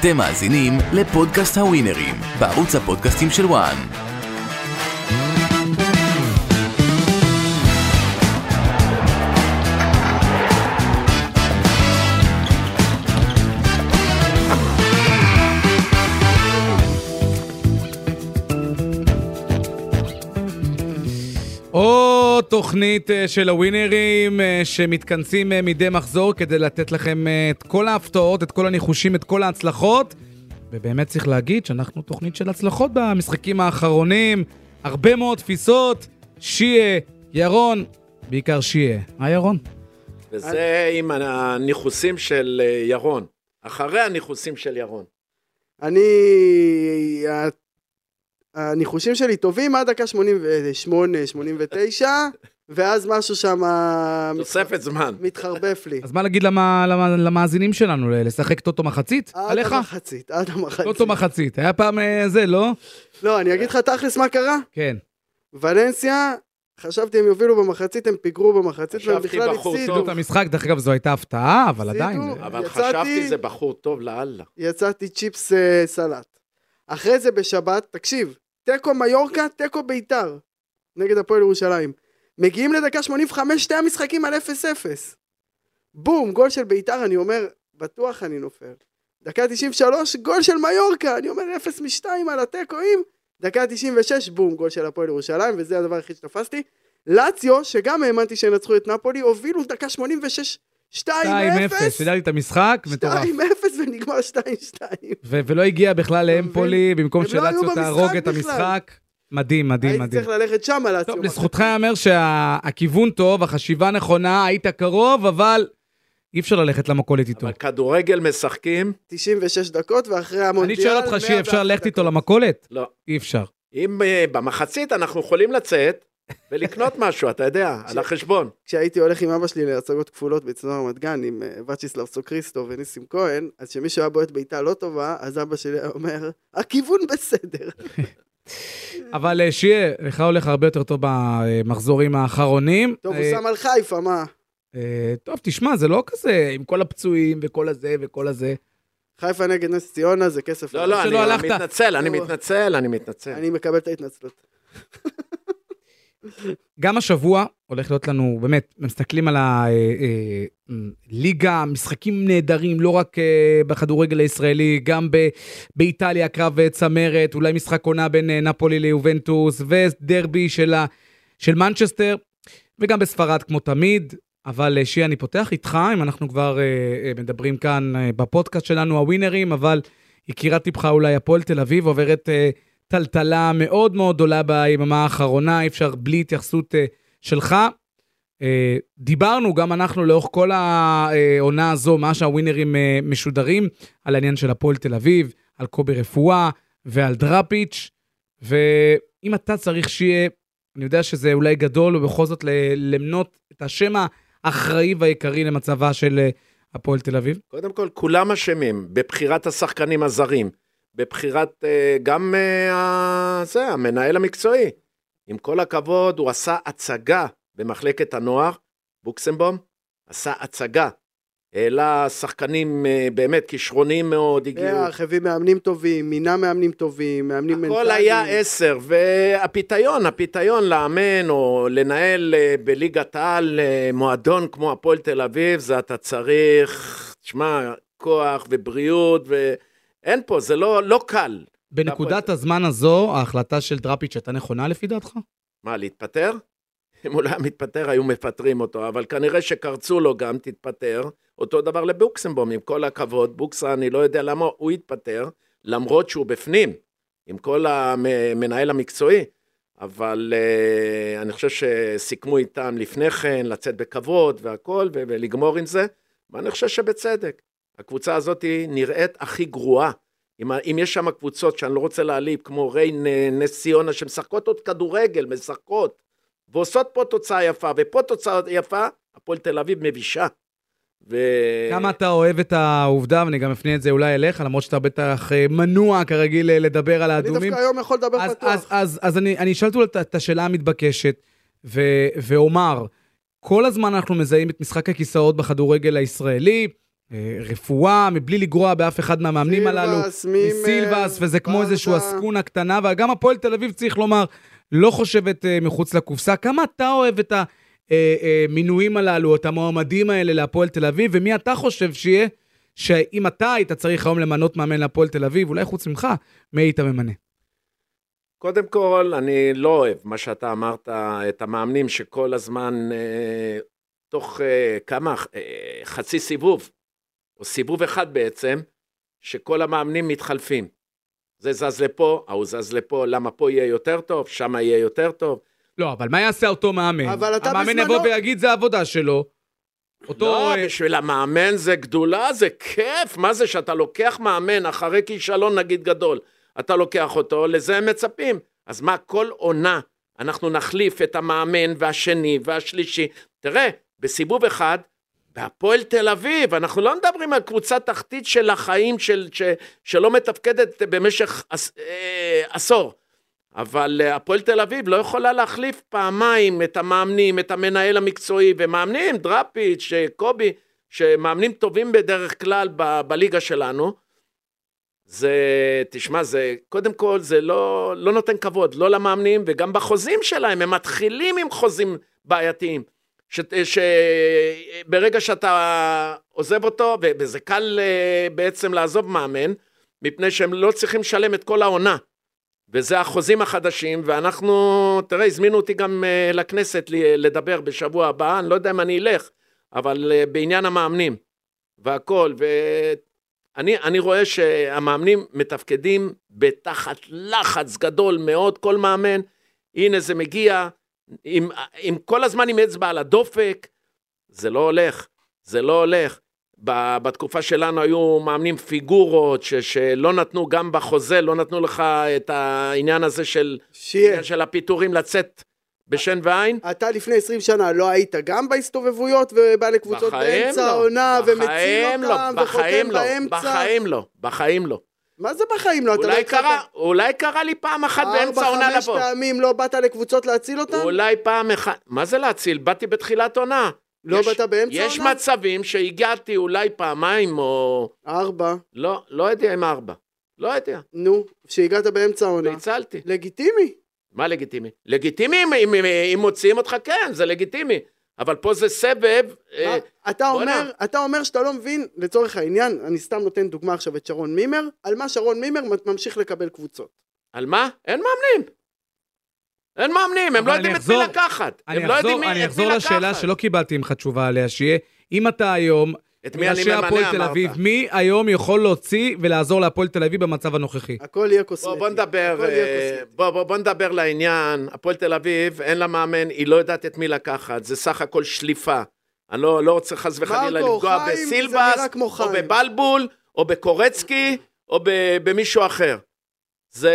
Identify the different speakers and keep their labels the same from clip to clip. Speaker 1: אתם מאזינים לפודקאסט הווינרים, בערוץ הפודקאסטים של וואן.
Speaker 2: או תוכנית אה, של הווינרים אה, שמתכנסים אה, מדי מחזור כדי לתת לכם אה, את כל ההפתעות, את כל הניחושים, את כל ההצלחות. ובאמת צריך להגיד שאנחנו תוכנית של הצלחות במשחקים האחרונים, הרבה מאוד תפיסות, שיה, ירון, בעיקר שיה. היי ירון?
Speaker 3: וזה עם הניכוסים של אה, ירון, אחרי הניכוסים של ירון.
Speaker 4: אני... ה- הניחושים שלי טובים עד דקה 88, 89, ואז משהו שם
Speaker 3: תוספת זמן.
Speaker 4: מתחרבף לי.
Speaker 2: אז מה להגיד למה, למה, למאזינים שלנו, ל- לשחק אה, טוטו מחצית?
Speaker 4: עד
Speaker 2: עליך?
Speaker 4: המחצית, עד המחצית.
Speaker 2: טוטו מחצית, היה פעם אה, זה, לא?
Speaker 4: לא, אני אגיד לך תכלס מה קרה.
Speaker 2: כן.
Speaker 4: ולנסיה, חשבתי הם יובילו במחצית, הם פיגרו במחצית, והם
Speaker 3: חשבתי
Speaker 4: בכלל
Speaker 3: בחור
Speaker 4: הפסידו.
Speaker 3: טוב,
Speaker 2: את המשחק, דרך אגב, זו הייתה הפתעה, אבל
Speaker 4: הפסידו.
Speaker 2: עדיין. זה- לא-
Speaker 3: אבל
Speaker 4: יצאתי-
Speaker 3: חשבתי זה בחור טוב לאללה.
Speaker 4: יצאתי צ'יפס אה, סלט. אחרי זה בשבת, תקשיב, תיקו מיורקה, תיקו ביתר, נגד הפועל ירושלים. מגיעים לדקה 85, שתי המשחקים על 0-0. בום, גול של ביתר, אני אומר, בטוח אני נופל. דקה 93, גול של מיורקה, אני אומר 0 מ-2 על התיקואים. דקה 96, בום, גול של הפועל ירושלים, וזה הדבר היחיד שתפסתי. לאציו, שגם האמנתי שינצחו את נפולי, הובילו דקה 86, 2-0.
Speaker 2: 2-0, שידעתי את המשחק, מטורף.
Speaker 4: 2-0 ונגמר 2-2.
Speaker 2: ו- ולא הגיע בכלל
Speaker 4: אתה
Speaker 2: לאמפולי, במקום
Speaker 4: הם לא היו
Speaker 2: שלציו
Speaker 4: במשחק
Speaker 2: תהרוג את
Speaker 4: בכלל.
Speaker 2: המשחק. מדהים, מדהים,
Speaker 4: הייתי
Speaker 2: מדהים.
Speaker 4: צריך ללכת שם על
Speaker 2: טוב,
Speaker 4: הציום.
Speaker 2: לזכותך ייאמר שהכיוון טוב, החשיבה נכונה, היית קרוב, אבל אי אפשר ללכת למכולת איתו.
Speaker 3: אבל כדורגל משחקים,
Speaker 4: 96 דקות, ואחרי המונדיאל...
Speaker 2: אני שואל אותך,
Speaker 4: 101
Speaker 2: שי, אפשר ללכת איתו
Speaker 4: דקות.
Speaker 2: למכולת?
Speaker 3: לא.
Speaker 2: אי אפשר.
Speaker 3: אם אה, במחצית אנחנו יכולים לצאת ולקנות משהו, אתה יודע, על החשבון.
Speaker 4: כשהייתי הולך עם אבא שלי להצגות כפולות בצנוע רמת גן, עם אה, וצ'יסלב סוקריסטו וניסים כהן, אז כשמישהו היה בועט בעיטה לא טובה, אז אבא שלי היה אומר, הכיוון בסדר.
Speaker 2: אבל אה, שי, לך הולך הרבה יותר טוב במחזורים האחרונים.
Speaker 4: טוב, הוא
Speaker 2: אה,
Speaker 4: שם על חיפה, מה?
Speaker 2: אה, טוב, תשמע, זה לא כזה, עם כל הפצועים וכל הזה וכל הזה.
Speaker 4: חיפה נגד נס ציונה זה כסף.
Speaker 3: לא, לא,
Speaker 2: שלא
Speaker 3: אני
Speaker 2: הלכת.
Speaker 3: מתנצל, אני
Speaker 4: לא.
Speaker 3: מתנצל, אני מתנצל.
Speaker 4: אני מקבל את ההתנצלות.
Speaker 2: גם השבוע הולך להיות לנו, באמת, מסתכלים על אה, הליגה, משחקים נהדרים, לא רק אה, בכדורגל הישראלי, גם ב- באיטליה קרב אה, צמרת, אולי משחק עונה בין אה, נפולי ליובנטוס, ודרבי של, ה- של מנצ'סטר, וגם בספרד כמו תמיד. אבל אה, שי, אני פותח איתך, אם אנחנו כבר אה, אה, מדברים כאן אה, בפודקאסט שלנו, הווינרים, אבל יקירת טיפך אולי הפועל תל אביב עוברת... אה, טלטלה מאוד מאוד גדולה ביממה האחרונה, אי אפשר בלי התייחסות אה, שלך. אה, דיברנו גם אנחנו לאורך כל העונה הזו, מה שהווינרים אה, משודרים, על העניין של הפועל תל אביב, על קובי רפואה ועל דראפיץ', ואם אתה צריך שיהיה, אני יודע שזה אולי גדול, ובכל זאת ל- למנות את השם האחראי והעיקרי למצבה של אה, הפועל תל אביב.
Speaker 3: קודם כל, כולם אשמים בבחירת השחקנים הזרים, בבחירת אה, גם אה, ה- זה, המנהל המקצועי. עם כל הכבוד, הוא עשה הצגה במחלקת הנוער, בוקסמבום, עשה הצגה. העלה שחקנים אה, באמת כישרוניים מאוד, הגיעו.
Speaker 4: אה, הביא מאמנים טובים, מינה מאמנים טובים, מאמנים מנטליים.
Speaker 3: הכל היה עשר, והפיתיון, הפיתיון לאמן או לנהל אה, בליגת העל אה, מועדון כמו הפועל תל אביב, זה אתה צריך, תשמע, כוח ובריאות, ואין פה, זה לא, לא קל.
Speaker 2: בנקודת הזמן הזו, ההחלטה של דראפיץ' הייתה נכונה לפי דעתך?
Speaker 3: מה, להתפטר? אם הוא לא היה מתפטר, היו מפטרים אותו, אבל כנראה שקרצו לו גם, תתפטר. אותו דבר לבוקסמבום, עם כל הכבוד, בוקסה, אני לא יודע למה הוא התפטר, למרות שהוא בפנים, עם כל המנהל המקצועי. אבל uh, אני חושב שסיכמו איתם לפני כן לצאת בכבוד והכל, ו- ולגמור עם זה, ואני חושב שבצדק. הקבוצה הזאת היא נראית הכי גרועה. אם, ה- אם יש שם קבוצות שאני לא רוצה להעליב, כמו ריין אה, נס ציונה, שמשחקות עוד כדורגל, משחקות, ועושות פה תוצאה יפה, ופה תוצאה יפה, הפועל תל אביב מבישה. ו...
Speaker 2: כמה אתה אוהב את העובדה, ואני גם אפנה את זה אולי אליך, למרות שאתה בטח אה, מנוע כרגיל אה, לדבר על
Speaker 4: אני
Speaker 2: האדומים.
Speaker 4: דווקא היום יכול לדבר
Speaker 2: אז,
Speaker 4: פתוח.
Speaker 2: אז, אז, אז אני, אני אשאל אותו את- את השאלה המתבקשת, ו, ואומר, כל הזמן אנחנו מזהים את משחק הכיסאות בכדורגל הישראלי, אה, רפואה, מבלי לגרוע באף אחד מהמאמנים
Speaker 4: סילבס,
Speaker 2: הללהו.
Speaker 4: מימר, אה,
Speaker 2: סילבס, וזה כמו
Speaker 4: ברדה.
Speaker 2: איזשהו עסקונה קטנה, וגם הפועל תל אביב, צריך לומר, לא חושבת אה, מחוץ לקופסה. כמה אתה אוהב את המינויים הללו, את המועמדים האלה להפועל תל אביב, ומי אתה חושב שיהיה, שאם אתה היית צריך היום למנות מאמן להפועל תל אביב, אולי חוץ ממך, מי היית ממנה?
Speaker 3: קודם כל, אני לא אוהב מה שאתה אמרת, את המאמנים שכל הזמן, אה, תוך אה, כמה, אה, חצי סיבוב, או סיבוב אחד בעצם, שכל המאמנים מתחלפים. זה זז לפה, ההוא זז לפה, למה פה יהיה יותר טוב, שם יהיה יותר טוב.
Speaker 2: לא, אבל מה יעשה אותו מאמן?
Speaker 4: אבל אתה
Speaker 2: המאמן
Speaker 4: בזמנו-
Speaker 2: יבוא ויגיד, זה העבודה שלו. אותו...
Speaker 3: לא,
Speaker 2: אה,
Speaker 3: בשביל המאמן זה גדולה, זה כיף. מה זה שאתה לוקח מאמן אחרי כישלון, נגיד, גדול, אתה לוקח אותו, לזה הם מצפים. אז מה, כל עונה אנחנו נחליף את המאמן והשני והשלישי. תראה, בסיבוב אחד, בהפועל תל אביב, אנחנו לא מדברים על קבוצה תחתית של החיים של, ש, שלא מתפקדת במשך עש, אה, עשור. אבל אה, הפועל תל אביב לא יכולה להחליף פעמיים את המאמנים, את המנהל המקצועי, ומאמנים, דראפיץ', אה, קובי, שמאמנים טובים בדרך כלל ב, בליגה שלנו. זה, תשמע, זה, קודם כל, זה לא, לא נותן כבוד, לא למאמנים, וגם בחוזים שלהם, הם מתחילים עם חוזים בעייתיים. אה, שברגע אה, שאתה עוזב אותו, ו- וזה קל אה, בעצם לעזוב מאמן, מפני שהם לא צריכים לשלם את כל העונה. וזה החוזים החדשים, ואנחנו, תראה, הזמינו אותי גם אה, לכנסת ל- לדבר בשבוע הבא, אני לא יודע אם אני אלך, אבל אה, בעניין המאמנים והכל, ואני אני רואה שהמאמנים מתפקדים בתחת לחץ גדול מאוד, כל מאמן, הנה זה מגיע, עם, עם כל הזמן עם אצבע על הדופק, זה לא הולך, זה לא הולך. ב- בתקופה שלנו היו מאמנים פיגורות, ש, שלא נתנו, גם בחוזה, לא נתנו לך את העניין הזה של,
Speaker 4: שיהיה.
Speaker 3: העניין של הפיטורים לצאת בשן ועין.
Speaker 4: אתה לפני 20 שנה לא היית גם בהסתובבויות ובא לקבוצות
Speaker 3: בחיים
Speaker 4: באמצע
Speaker 3: לא,
Speaker 4: העונה ומציל
Speaker 3: בחיים לא,
Speaker 4: אותם
Speaker 3: בחיים
Speaker 4: וחותם
Speaker 3: לא,
Speaker 4: באמצע.
Speaker 3: בחיים לא, בחיים לא.
Speaker 4: מה זה בחיים לא? אתה לא
Speaker 3: אולי
Speaker 4: התחלת-
Speaker 3: קרה, אולי קרה לי פעם אחת באמצע העונה
Speaker 4: ארבע, חמש
Speaker 3: לבוא.
Speaker 4: פעמים לא באת לקבוצות להציל אותם?
Speaker 3: אולי פעם אחת, מה זה להציל? באתי בתחילת עונה.
Speaker 4: לא
Speaker 3: יש-
Speaker 4: באת באמצע
Speaker 3: יש
Speaker 4: העונה?
Speaker 3: מצבים שהגעתי אולי פעמיים או...
Speaker 4: ארבע.
Speaker 3: לא, לא יודע אם ארבע. לא יודע,
Speaker 4: נו, שהגעת באמצע העונה.
Speaker 3: והצלתי.
Speaker 4: לגיטימי.
Speaker 3: מה לגיטימי? לגיטימי אם, אם, אם, אם מוציאים אותך, כן, זה לגיטימי. אבל פה זה סבב... אה,
Speaker 4: מה? אתה
Speaker 3: בוא'נה.
Speaker 4: אומר, אתה אומר שאתה לא מבין, לצורך העניין, אני סתם נותן דוגמה עכשיו את שרון מימר, על מה שרון מימר ממשיך לקבל קבוצות.
Speaker 3: על מה? אין מאמנים. אין מאמנים, הם
Speaker 2: אבל
Speaker 3: לא יודעים
Speaker 2: אני
Speaker 3: את מי
Speaker 2: אחזור-
Speaker 3: לקחת. הם
Speaker 2: אני
Speaker 3: לא יודעים
Speaker 2: אחזור,
Speaker 3: מי-
Speaker 2: אני
Speaker 3: את מי
Speaker 2: אחזור לשאלה
Speaker 3: לקחת.
Speaker 2: שלא קיבלתי ממך תשובה עליה, שיהיה, אם אתה היום,
Speaker 3: את מי אני
Speaker 2: ראשי הפועל
Speaker 3: ממנה,
Speaker 2: תל
Speaker 3: אמרת.
Speaker 2: אביב, מי היום יכול להוציא ולעזור להפועל תל אביב במצב הנוכחי?
Speaker 4: הכל יהיה קוסמטי.
Speaker 3: בוא, בוא נדבר,
Speaker 4: הכל יהיה
Speaker 3: אה,
Speaker 4: קוסמטי.
Speaker 3: בוא, בוא, בוא נדבר לעניין. הפועל תל אביב, אין לה מאמן, היא לא יודעת את מי לקחת, זה סך הכל שליפה. אני לא, לא רוצה חס וחלילה
Speaker 4: מרקו,
Speaker 3: לפגוע
Speaker 4: חיים, זה
Speaker 3: בסילבס,
Speaker 4: נראה כמו
Speaker 3: או
Speaker 4: חיים.
Speaker 3: בבלבול, או בקורצקי, או ב- במישהו אחר. זה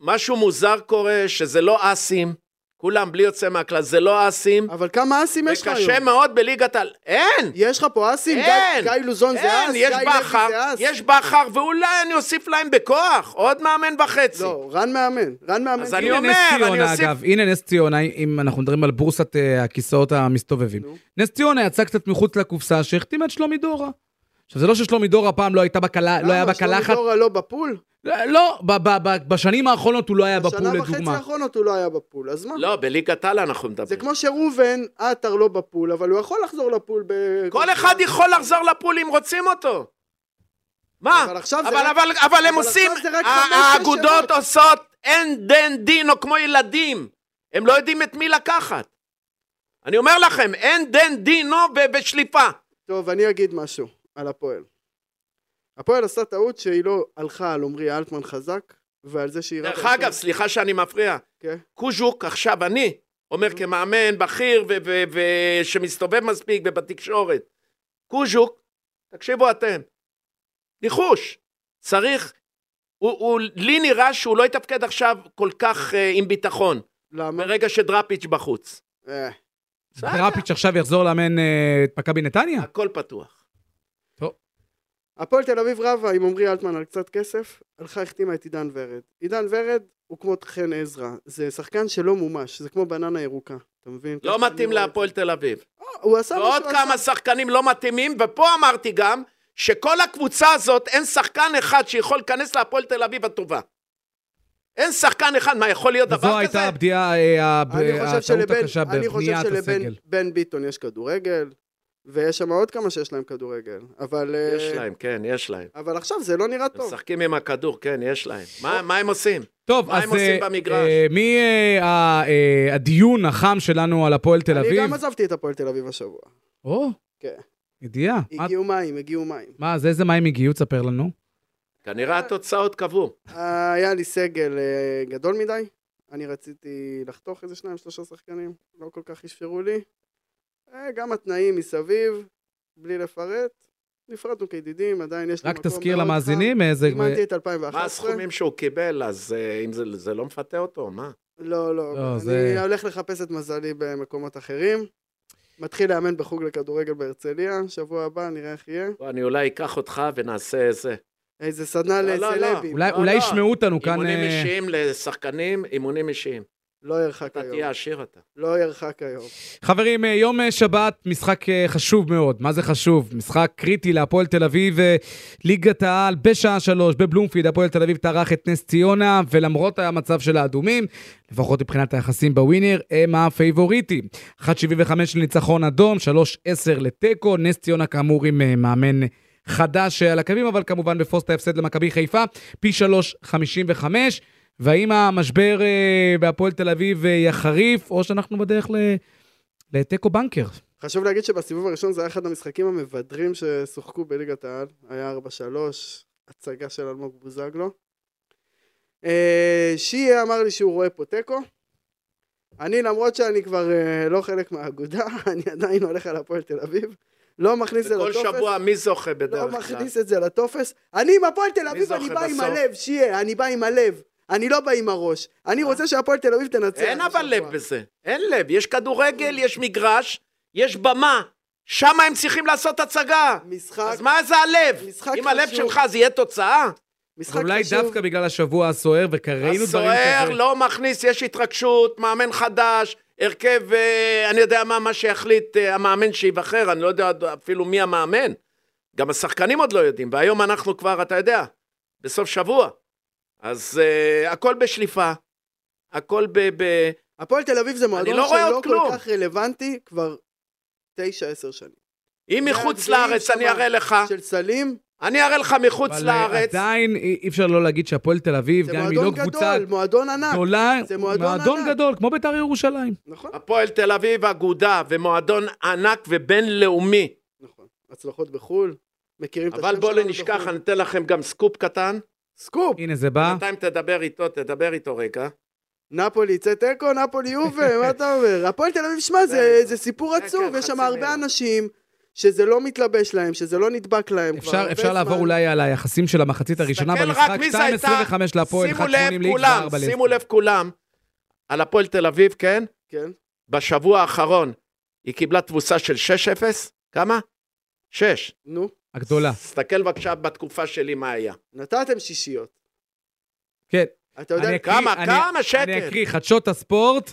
Speaker 3: משהו מוזר קורה, שזה לא אסים, כולם בלי יוצא מהכלל, זה לא אסים,
Speaker 4: אבל כמה אסים יש לך היום?
Speaker 3: וקשה מאוד בליגת ה... אין!
Speaker 4: יש לך פה אסים? גיא-
Speaker 3: אין!
Speaker 4: גיא לוזון זה
Speaker 3: אין,
Speaker 4: אס?
Speaker 3: יש
Speaker 4: גיא לוי
Speaker 3: בכר,
Speaker 4: זה אס?
Speaker 3: יש בכר, ואולי אני אוסיף להם בכוח, עוד מאמן וחצי.
Speaker 4: לא, רן מאמן. רן מאמן.
Speaker 3: אז אני
Speaker 2: הנה
Speaker 3: אומר,
Speaker 2: נס
Speaker 3: אני
Speaker 2: ציונה,
Speaker 3: אוסיף-
Speaker 2: אגב, הנה נס ציונה, אם אנחנו מדברים על בורסת אה, הכיסאות המסתובבים.
Speaker 4: נו.
Speaker 2: נס ציונה יצא קצת מחוץ לקופסה שהחתימה את שלומי דורה. עכשיו, זה לא ששלומי דורה פעם לא הייתה בקלה, לא היה
Speaker 4: כאילו, למה, שלומי
Speaker 2: בקלחת.
Speaker 4: דורה לא בפול?
Speaker 2: לא, ב- ב- ב- בשנים האחרונות הוא לא היה בפול,
Speaker 4: השנה וחצי
Speaker 2: לדוגמה.
Speaker 4: האחרונות הוא לא היה בפול, אז מה?
Speaker 3: לא, בליגת העל אנחנו מדברים.
Speaker 4: זה כמו שראובן עטר לא בפול, אבל הוא יכול לחזור לפול ב...
Speaker 3: כל אחד יכול לחזור לפול אם רוצים אותו. מה?
Speaker 4: אבל עכשיו זה
Speaker 3: אבל,
Speaker 4: רק-
Speaker 3: אבל, אבל הם
Speaker 4: אבל
Speaker 3: עושים,
Speaker 4: עכשיו זה רק
Speaker 3: ה-
Speaker 4: חמש, שש
Speaker 3: האגודות
Speaker 4: שמות.
Speaker 3: עושות אין דין דינו כמו ילדים. הם לא יודעים את מי לקחת. אני אומר לכם, אין דין דינו ו- בשליפה.
Speaker 4: טוב, אני אגיד משהו על הפועל. הפועל עשה טעות שהיא לא הלכה על עמרי אלטמן חזק, ועל זה שהיא... רק
Speaker 3: דרך
Speaker 4: הלכה-
Speaker 3: אגב, סליחה שאני מפריע.
Speaker 4: כן.
Speaker 3: קוז'וק, עכשיו אני, אומר
Speaker 4: Mm-hmm.
Speaker 3: כמאמן בכיר ו- ו- ו- שמסתובב מספיק ובתקשורת, קוז'וק, תקשיבו אתם, ניחוש, צריך, הוא, הוא, לי נראה שהוא לא יתפקד עכשיו כל כך uh, עם ביטחון,
Speaker 4: Mm-hmm. למה?
Speaker 3: ברגע שדראפיץ' בחוץ.
Speaker 4: אה,
Speaker 2: דראפיץ' עכשיו יחזור לאמן אה, את מכבי נתניה?
Speaker 3: הכל פתוח.
Speaker 4: הפועל תל אביב רבה עם עמרי אלטמן על קצת כסף, הלכה החתימה את עידן ורד. עידן ורד הוא כמו חן עזרא, זה שחקן שלא מומש, זה כמו בננה ירוקה. אתה מבין?
Speaker 3: לא
Speaker 4: ככה
Speaker 3: מתאים
Speaker 4: אני רואה. לא,
Speaker 3: להפועל תל אביב.
Speaker 4: הוא עשה
Speaker 3: ועוד
Speaker 4: משהו,
Speaker 3: כמה שחקנים לא מתאימים, ופה אמרתי גם, שכל הקבוצה הזאת, אין שחקן אחד שיכול להיכנס להפועל תל אביב הטובה. אין שחקן אחד, מה, יכול להיות
Speaker 2: זו
Speaker 3: דבר
Speaker 2: הייתה
Speaker 3: כזה?
Speaker 2: הבדיעה, אה, הב-
Speaker 4: אני חושב
Speaker 2: הטעות
Speaker 4: שלבן,
Speaker 2: הקשה
Speaker 4: אני חושב
Speaker 2: בבניית
Speaker 4: שלבן
Speaker 2: הסגל.
Speaker 4: בן ביטון יש כדורגל, ויש שם עוד כמה שיש להם כדורגל, אבל... אה,
Speaker 3: יש להם, כן, יש להם.
Speaker 4: אבל עכשיו זה לא נראה
Speaker 3: הם
Speaker 4: טוב.
Speaker 3: משחקים עם הכדור, כן, יש להם. מה מה הם עושים?
Speaker 2: טוב,
Speaker 3: מה
Speaker 2: אז
Speaker 3: הם עושים
Speaker 2: אה,
Speaker 3: במגרש?
Speaker 2: אה, מי אה, ה- אה, הדיון החם שלנו על הפועל תל
Speaker 4: אני
Speaker 2: אביב?
Speaker 4: גם עזבתי את הפועל תל אביב השבוע.
Speaker 2: או,
Speaker 4: כן.
Speaker 2: ידיעה. מה-
Speaker 4: הגיעו מים, הגיעו מים.
Speaker 2: מה, אז איזה מים הגיעו? תספר לנו.
Speaker 4: אה.
Speaker 3: כנראה התוצאות קבעו.
Speaker 4: היה לי סגל אה, גדול מדי, אני רציתי לחתוך איזה שניים, שלושה שחקנים, לא כל כך אפשרו לי. אה, גם התנאים מסביב, בלי לפרט, נפרדנו כידידים, עדיין יש לי
Speaker 2: רק
Speaker 4: מקום
Speaker 2: תזכיר
Speaker 4: מאוד
Speaker 2: למאזינים איזה...
Speaker 4: חם. אימנתי את
Speaker 3: מה
Speaker 4: 2011.
Speaker 3: הסכומים שהוא קיבל, אז אה, אם זה- זה לא מפתה אותו, מה?
Speaker 4: לא, לא,
Speaker 2: לא,
Speaker 4: אני
Speaker 2: זה-
Speaker 4: הולך לחפש את מזלי במקומות אחרים. מתחיל לאמן בחוג לכדורגל בהרצליה, שבוע הבא נראה איך יהיה.
Speaker 3: בוא, אני אולי אקח אותך ונעשה איזה.
Speaker 4: איזה סדנה
Speaker 3: לא, לא,
Speaker 4: לסלבים,
Speaker 2: אולי-
Speaker 3: לא,
Speaker 2: אולי
Speaker 3: לא.
Speaker 2: ישמעו אותנו כאן...
Speaker 3: אימונים
Speaker 2: אה,
Speaker 3: אישיים לשחקנים, אימונים אישיים.
Speaker 4: לא ירחק
Speaker 3: אתה תהיה
Speaker 4: היום.
Speaker 3: עשיר אתה.
Speaker 4: לא ירחק היום.
Speaker 2: חברים, אה, יום אה, שבת, משחק אה, חשוב מאוד. מה זה חשוב? משחק קריטי להפועל תל אביב, אה, ליגת העל, בשעה שלוש, בבלומפיד, הפועל תל אביב טרח את נס ציונה, ולמרות המצב של האדומים, לפחות מבחינת היחסים בווינר, הם הפייבוריטים. 1.75 לניצחון אדום, 3.10 לתיקו, נס ציונה כאמור עם אה, מאמן חדש אה, על הקווים, אבל כמובן בפוסט ההפסד למכבי חיפה, פי 3.55. והאם המשבר אה, בהפועל תל אביב אה, יחריף, או שאנחנו בדרך ל... לתיקו בנקר.
Speaker 4: חשוב להגיד שבסיבוב הראשון זה היה אחד המשחקים המבדרים ששוחקו בליגת העל. היה 4-3, הצגה של אלמוג בוזגלו. אה, שיהיה אמר לי שהוא רואה פה תיקו. אני, למרות שאני כבר אה, לא חלק מהאגודה, אני עדיין הולך על הפועל תל אביב. לא מכניס את זה
Speaker 3: כל
Speaker 4: לטופס.
Speaker 3: שבוע מי זוכה
Speaker 4: לא
Speaker 3: בדרך כלל?
Speaker 4: מכניס את זה לטופס. אני עם הפועל תל אביב,
Speaker 3: זוכה
Speaker 4: אני בא עם
Speaker 3: בסוף?
Speaker 4: הלב, שיהיה, אני בא עם הלב. אני לא בא עם הראש. אני רוצה שהפועל תל אביב תנצח.
Speaker 3: אה. אין אבל
Speaker 4: השבוע.
Speaker 3: לב בזה. אין לב. יש כדורגל, יש מגרש, יש במה. שם הם צריכים לעשות הצגה.
Speaker 4: משחק,
Speaker 3: אז מה זה הלב?
Speaker 4: משחק
Speaker 3: אם הלב
Speaker 4: חשוב.
Speaker 3: שלך זה יהיה תוצאה?
Speaker 4: משחק
Speaker 2: אולי
Speaker 4: חשוב.
Speaker 2: דווקא בגלל השבוע הסוער, וכראינו דברים
Speaker 3: הסוער לא מכניס, יש התרגשות, מאמן חדש, הרכב, אה, אני יודע מה, מה שיחליט אה, המאמן שייבחר, אני לא יודע עוד אפילו מי המאמן. גם השחקנים עוד לא יודעים, והיום אנחנו כבר, אתה יודע, בסוף שבוע. אז uh, הכל בשליפה, הכל ב... ב
Speaker 4: הפועל תל אביב זה מועדון
Speaker 3: לא רואה
Speaker 4: שלא
Speaker 3: עוד
Speaker 4: כל
Speaker 3: כלום.
Speaker 4: כך רלוונטי כבר תשע, עשר שנים.
Speaker 3: אם מחוץ לארץ, אני אראה לך,
Speaker 4: של סלים,
Speaker 3: אני אראה לך מחוץ
Speaker 2: אבל אה,
Speaker 3: לארץ.
Speaker 2: עדיין אי אי אפשר לא להגיד שהפועל תל אביב,
Speaker 4: זה
Speaker 2: גם אם היא לא
Speaker 4: מועדון
Speaker 2: קבוצה
Speaker 4: גדול, מועדון ענק.
Speaker 2: גדולה,
Speaker 4: זה
Speaker 2: הוא
Speaker 4: מועדון
Speaker 2: מועדון
Speaker 4: ענק.
Speaker 2: גדול, כמו בית"ר ירושלים.
Speaker 4: נכון,
Speaker 3: הפועל תל אביב, אגודה ומועדון ענק ובינלאומי.
Speaker 4: נכון. הצלחות בחו"ל, מכירים את השם
Speaker 3: אבל בואו
Speaker 4: שלנו
Speaker 3: נשכח,
Speaker 4: בחו"ל.
Speaker 3: אני אתן לכם גם סקופ קטן.
Speaker 4: סקופ!
Speaker 2: הנה זה בא.
Speaker 3: בינתיים תדבר איתו, תדבר איתו רגע.
Speaker 4: נפולי יצא תיקו, נפולי יובה, מה אתה אומר? הפועל תל אביב, שמע, זה- זה סיפור
Speaker 3: כן, כן,
Speaker 4: עצוב, יש
Speaker 3: חצי
Speaker 4: שם הרבה
Speaker 3: מיליון.
Speaker 4: אנשים שזה לא מתלבש להם, שזה לא נדבק להם. כבר
Speaker 2: אפשר,
Speaker 4: הרבה
Speaker 2: אפשר לעבור
Speaker 4: זמן.
Speaker 2: אולי על היחסים של המחצית הראשונה
Speaker 3: תסתכל
Speaker 2: במשחק,
Speaker 3: רק מי
Speaker 2: 2.25
Speaker 3: זה הייתה.
Speaker 2: להפועל, 1.80
Speaker 3: שימו לב
Speaker 2: לאיקס
Speaker 3: כולם,
Speaker 2: ו-4
Speaker 3: שימו לב כולם, על הפועל תל אביב, כן?
Speaker 4: כן,
Speaker 3: בשבוע האחרון היא קיבלה תבוסה של 6-0, כמה? 6.
Speaker 2: אה.
Speaker 4: נו.
Speaker 2: הגדולה.
Speaker 3: תסתכל בבקשה בתקופה שלי מה היה.
Speaker 4: נתתם שישיות.
Speaker 2: כן.
Speaker 4: אתה יודע
Speaker 2: אני אקריא,
Speaker 3: כמה,
Speaker 2: אני-
Speaker 3: כמה
Speaker 2: אני
Speaker 3: שקל?
Speaker 2: אקריא, חדשות הספורט,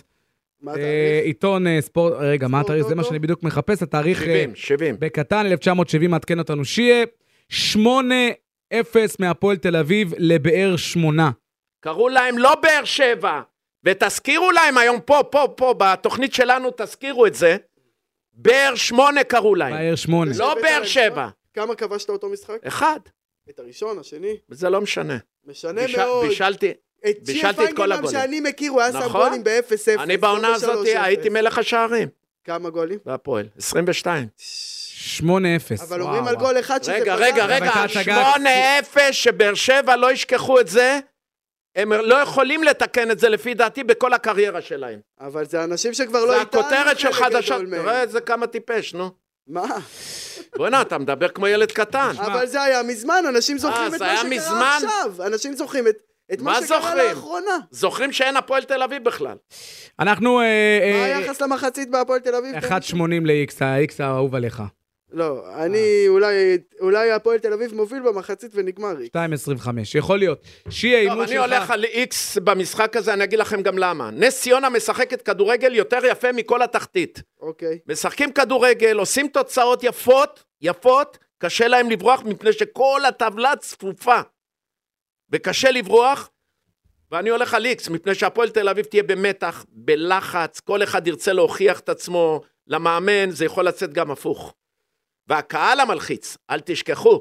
Speaker 4: מה
Speaker 2: אה,
Speaker 4: אתה...
Speaker 2: עיתון אה, ספורט, רגע, מה
Speaker 4: ספורט
Speaker 2: התאריך? זה מה
Speaker 4: אוטו?
Speaker 2: שאני בדיוק מחפש, התאריך... אה,
Speaker 3: 70, 70.
Speaker 2: בקטן, 1970 מעדכן אותנו שיהיה 8-0 מהפועל תל אביב לבאר שמונה.
Speaker 3: קראו להם לא באר שבע, ותזכירו להם היום פה, פה, פה, בתוכנית שלנו תזכירו את זה, באר שמונה קראו
Speaker 4: אה,
Speaker 3: להם,
Speaker 2: באר שמונה.
Speaker 3: לא באר שבע,
Speaker 4: כמה כבשת אותו משחק?
Speaker 3: אחד,
Speaker 4: את הראשון, השני?
Speaker 3: זה לא משנה.
Speaker 4: משנה
Speaker 3: ביש-
Speaker 4: מאוד.
Speaker 3: בישלתי,
Speaker 4: את
Speaker 3: בישלתי
Speaker 4: שיר
Speaker 3: את כל
Speaker 4: פיינגלמן
Speaker 3: הגולים.
Speaker 4: שאני מכיר, הוא היה שם
Speaker 3: נכון.
Speaker 4: גולים ב-0-0.
Speaker 3: אני בעונה הזאת הייתי מלך השערים
Speaker 4: כמה גולים?
Speaker 3: בהפועל, 22.
Speaker 2: 8-0.
Speaker 4: אבל
Speaker 2: וואו,
Speaker 4: אומרים על
Speaker 2: וואו.
Speaker 4: גול אחד שזה...
Speaker 3: רגע,
Speaker 4: פגע.
Speaker 3: רגע,
Speaker 2: אבל
Speaker 3: רגע,
Speaker 2: הייתה הצגה-
Speaker 3: 8-0 שבאר שבע לא ישכחו את זה, הם לא יכולים לתקן את זה לפי דעתי בכל הקריירה שלהם.
Speaker 4: אבל זה אנשים שכבר לא
Speaker 3: זה
Speaker 4: איתנו.
Speaker 3: הכותרת של
Speaker 4: חלק גדול
Speaker 3: חדשות,
Speaker 4: מהם.
Speaker 3: תראה איזה כמה טיפש, נו.
Speaker 4: מה?
Speaker 3: בוא'נה, אתה מדבר כמו ילד קטן.
Speaker 4: אבל זה היה מזמן, אנשים זוכרים
Speaker 3: אה, זה
Speaker 4: את מה
Speaker 3: היה
Speaker 4: שקרה
Speaker 3: מזמן?
Speaker 4: עכשיו. אנשים זוכרים את- את מה
Speaker 3: מה
Speaker 4: שקרה
Speaker 3: זוכרים?
Speaker 4: לאחרונה.
Speaker 3: זוכרים שאין הפועל תל אביב בכלל.
Speaker 2: אנחנו... אה,
Speaker 4: מה
Speaker 2: אה,
Speaker 4: היחס למחצית בהפועל תל אביב?
Speaker 2: 1.80 ל-X, ה-X האהוב עליך.
Speaker 4: לא, אני אולי, אולי הפועל תל אביב מוביל במחצית ונגמר לי.
Speaker 2: 2.25, יכול להיות. שיהיה
Speaker 3: טוב,
Speaker 2: הימור
Speaker 3: אני
Speaker 2: שלך.
Speaker 3: הולך על איקס במשחק הזה, אני אגיד לכם גם למה. נס ציונה משחקת כדורגל יותר יפה מכל התחתית.
Speaker 4: אוקיי.
Speaker 3: משחקים כדורגל, עושים תוצאות יפות, יפות, קשה להם לברוח מפני שכל הטבלה צפופה. וקשה לברוח, ואני הולך על איקס, מפני שהפועל תל אביב תהיה במתח, בלחץ, כל אחד ירצה להוכיח את עצמו, למאמן זה יכול לצאת גם הפוך. והקהל המלחיץ, אל תשכחו,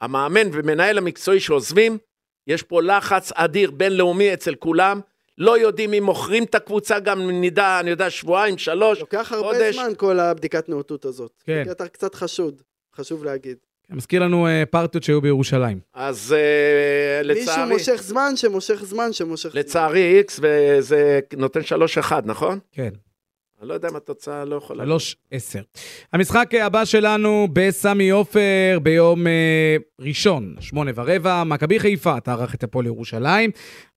Speaker 3: המאמן ומנהל המקצועי שעוזבים, יש פה לחץ אדיר בינלאומי אצל כולם, לא יודעים אם מוכרים את הקבוצה, גם נדע, אני יודע, שבועיים, שלוש,
Speaker 4: לוקח הרבה
Speaker 3: חודש.
Speaker 4: זמן כל הבדיקת נאותות הזאת.
Speaker 2: כן.
Speaker 4: כי אתה קצת חשוד, חשוב להגיד.
Speaker 2: מזכיר לנו אה, פרטיות שהיו בירושלים.
Speaker 3: אז אה,
Speaker 4: מישהו
Speaker 3: לצערי,
Speaker 4: מושך זמן שמושך זמן שמושך זמן.
Speaker 3: לצערי איקס, וזה נותן 3-1, נכון?
Speaker 2: כן.
Speaker 3: אני לא יודע אם התוצאה לא יכולה.
Speaker 2: 3-10. המשחק הבא שלנו בסמי עופר ביום אה, ראשון, שמונה ורבע, מכבי חיפה תארח את הפועל ירושלים.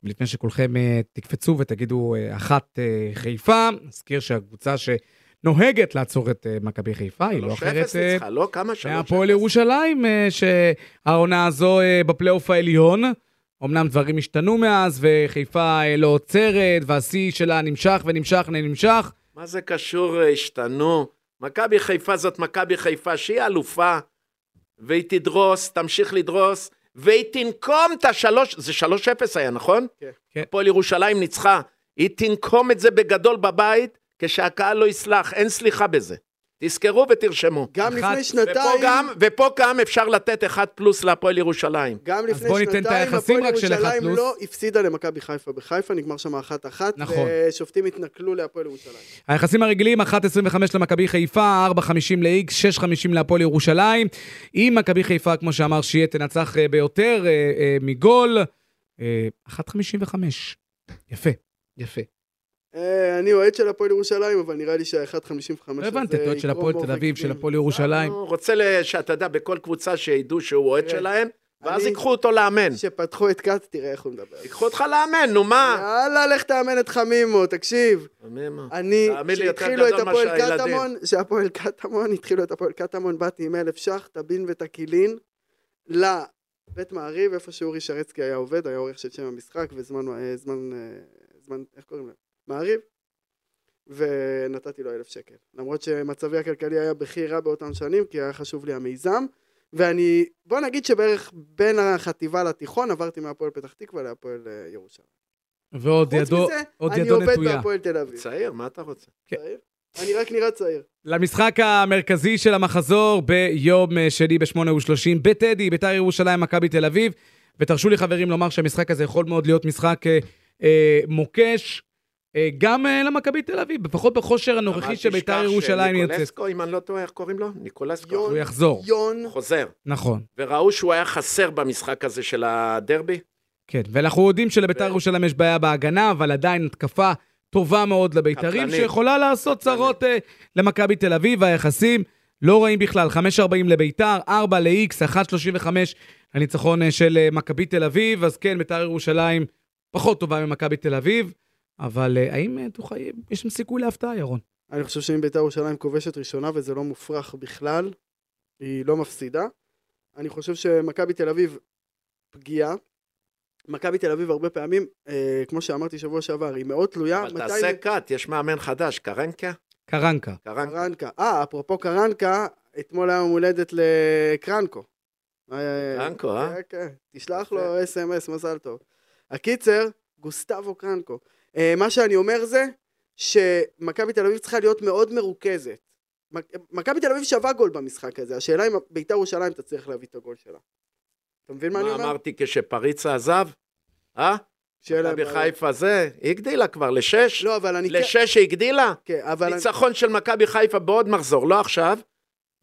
Speaker 2: ולפני שכולכם אה, תקפצו ותגידו אה, אחת אה, חיפה, נזכיר שהקבוצה שנוהגת לעצור את אה, מכבי חיפה, היא לא
Speaker 3: 3-0
Speaker 2: אחרת אה,
Speaker 3: ניצחה, לא כמה שלוש.
Speaker 2: מהפועל ירושלים, אה, שהעונה הזו אה, בפלייאוף העליון. אמנם דברים השתנו מאז, וחיפה אה, לא עוצרת, והשיא שלה נמשך ונמשך ונמשך.
Speaker 3: מה זה קשור, אה, השתנו? מכבי חיפה זאת מכבי חיפה, שהיא אלופה, והיא תדרוס, תמשיך לדרוס, והיא תנקום את השלוש, זה 3-0 היה, נכון?
Speaker 4: כן.
Speaker 2: כן.
Speaker 3: הפועל ירושלים ניצחה. היא תנקום את זה בגדול בבית, כשהקהל לא יסלח, אין סליחה בזה. תזכרו ותרשמו.
Speaker 4: גם
Speaker 2: אחת.
Speaker 4: לפני
Speaker 3: ופה
Speaker 4: שנתיים,
Speaker 3: גם, ופה גם אפשר לתת אחד פלוס להפועל ירושלים.
Speaker 4: גם
Speaker 2: אז
Speaker 4: לפני
Speaker 2: בוא ניתן את
Speaker 4: שנתיים,
Speaker 2: היחסים
Speaker 4: הפועל
Speaker 2: רק של אחד
Speaker 4: ירושלים
Speaker 2: פלוס.
Speaker 4: לא הפסידה למכבי חיפה. בחיפה נגמר שם אחת אחת,
Speaker 2: נכון.
Speaker 4: ושופטים התנכלו להפועל ירושלים.
Speaker 2: היחסים הרגילים, 1.25 למכבי חיפה, 4.50 לאיקס, 6.50 להפועל ירושלים. אם מכבי חיפה, כמו שאמר שיהיה, תנצח אה, ביותר אה, אה, מגול, אה, 1.55. יפה, יפה.
Speaker 4: אה, אני אוהד של הפועל ירושלים, אבל נראה לי שה-1.55
Speaker 2: לא הבנת, אתה אוהד של הפועל תל אביב, של הפועל ירושלים.
Speaker 4: אה,
Speaker 3: הוא רוצה ל- שאתה יודע, בכל קבוצה שידעו שהוא אוהד
Speaker 4: כן.
Speaker 3: שלהם, ואז
Speaker 4: אני-
Speaker 3: ייקחו אותו לאמן.
Speaker 4: שפתחו את כת, תראה איך הוא מדבר.
Speaker 3: ייקחו אותך לאמן, נו מה?
Speaker 4: יאללה, לך תאמן את חמימו, תקשיב. אני,
Speaker 3: תאמין לי, יותר
Speaker 4: כשהתחילו את
Speaker 3: גדול
Speaker 4: הפועל
Speaker 3: מאשר הילדים.
Speaker 4: קטמון, שהפועל קטמון, התחילו את הפועל קטמון, באתי עם אלף ש"ח, טבין וטקילין, לבית מעריב, איפה שאורי שרצקי היה עובד, היה עורך של שם המשחק, וזמן, אה, זמן, אה, זמן, איך קוראים להם? מעריב. ונתתי לו אלף שקל. למרות שמצבי הכלכלי היה בכי רע באותם שנים, כי היה חשוב לי המיזם. ואני, בוא נגיד שבערך בין החטיבה לתיכון עברתי מהפועל פתח תקווה להפועל אה, ירושלים.
Speaker 2: ועוד
Speaker 4: חוץ
Speaker 2: ידו,
Speaker 4: מזה,
Speaker 2: עוד
Speaker 4: אני
Speaker 2: ידו
Speaker 4: עובד
Speaker 2: נטויה.
Speaker 4: בהפועל תל אביב.
Speaker 3: צעיר, מה אתה רוצה?
Speaker 4: צעיר? אני רק נראה צעיר.
Speaker 2: למשחק המרכזי של המחזור ביום אה, שני ב-8:30 בטדי, ביתר ירושלים, מכבי תל אביב. ותרשו לי חברים לומר שהמשחק הזה יכול מאוד להיות משחק אה, אה, מוקש, אה, גם אה, למכבי תל אביב, לפחות בכושר הנוכחי
Speaker 3: אבל
Speaker 2: של ביתר
Speaker 3: תשכח
Speaker 2: ירושלים יוצאת.
Speaker 3: שניקולסקו, אם אני לא טועה, איך קוראים לו? ניקולסקו.
Speaker 4: יון.
Speaker 2: הוא יחזור,
Speaker 4: יון,
Speaker 3: חוזר.
Speaker 2: נכון.
Speaker 3: וראו שהוא היה חסר במשחק הזה של הדרבי.
Speaker 2: כן, ואנחנו יודעים שלביתר
Speaker 3: ו-
Speaker 2: ירושלים יש בעיה בהגנה, אבל עדיין התקפה טובה מאוד לבית"רים,
Speaker 3: קטלנית.
Speaker 2: שיכולה לעשות צרות אה, למכבי תל אביב, והיחסים לא רעים בכלל. 5.40 לביתר, 4 ל-X, 1.35 הניצחון אה, של אה, מכבי תל אביב, אז כן, ביתר ירושלים פחות טובה ממכבי תל אביב, אבל אה, האם אה, תוכל, יש שם סיכוי להפתעה, ירון?
Speaker 4: אני חושב שאם בית"ר ירושלים כובשת ראשונה, וזה לא מופרך בכלל, היא לא מפסידה. אני חושב שמכבי תל אביב פגיעה. מכבי תל אביב הרבה פעמים, אה, כמו שאמרתי שבוע שעבר, היא מאוד תלויה.
Speaker 3: אבל
Speaker 4: מתי-
Speaker 3: תעשה קאט, יש מאמן חדש, קרנקה?
Speaker 2: קרנקה.
Speaker 3: קרנקה.
Speaker 4: קרנקה. אה, אפרופו קרנקה, אתמול היה יום הולדת לקרנקו.
Speaker 3: קרנקו, אה?
Speaker 4: כן, כן. תשלח לו אס.אם.אס, מזל טוב. הקיצר, גוסטבו קרנקו. אה, מה שאני אומר זה שמכבי תל אביב צריכה להיות מאוד מרוכזת. מק- מכבי תל אביב שווה גול במשחק הזה, השאלה אם בית"ר ירושלים תצליח להביא את הגול שלה. אתה מבין מה אני
Speaker 3: מה
Speaker 4: אומר?
Speaker 3: אמרתי כשפריצה עזב? אה?
Speaker 4: שאלה
Speaker 3: מכבי
Speaker 4: בעיה.
Speaker 3: חיפה זה? היא הגדילה כבר לשש?
Speaker 4: לא, אבל אני... כן-
Speaker 3: לשש היא הגדילה?
Speaker 4: כן, אבל... אני-
Speaker 3: ניצחון של מכבי חיפה בעוד מחזור, לא עכשיו.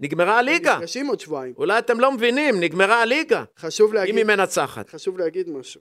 Speaker 3: נגמרה הליגה.
Speaker 4: נפגשים עוד שבועיים.
Speaker 3: אולי אתם לא מבינים, נגמרה הליגה.
Speaker 4: חשוב להגיד...
Speaker 3: אם היא מנצחת.
Speaker 4: חשוב להגיד משהו.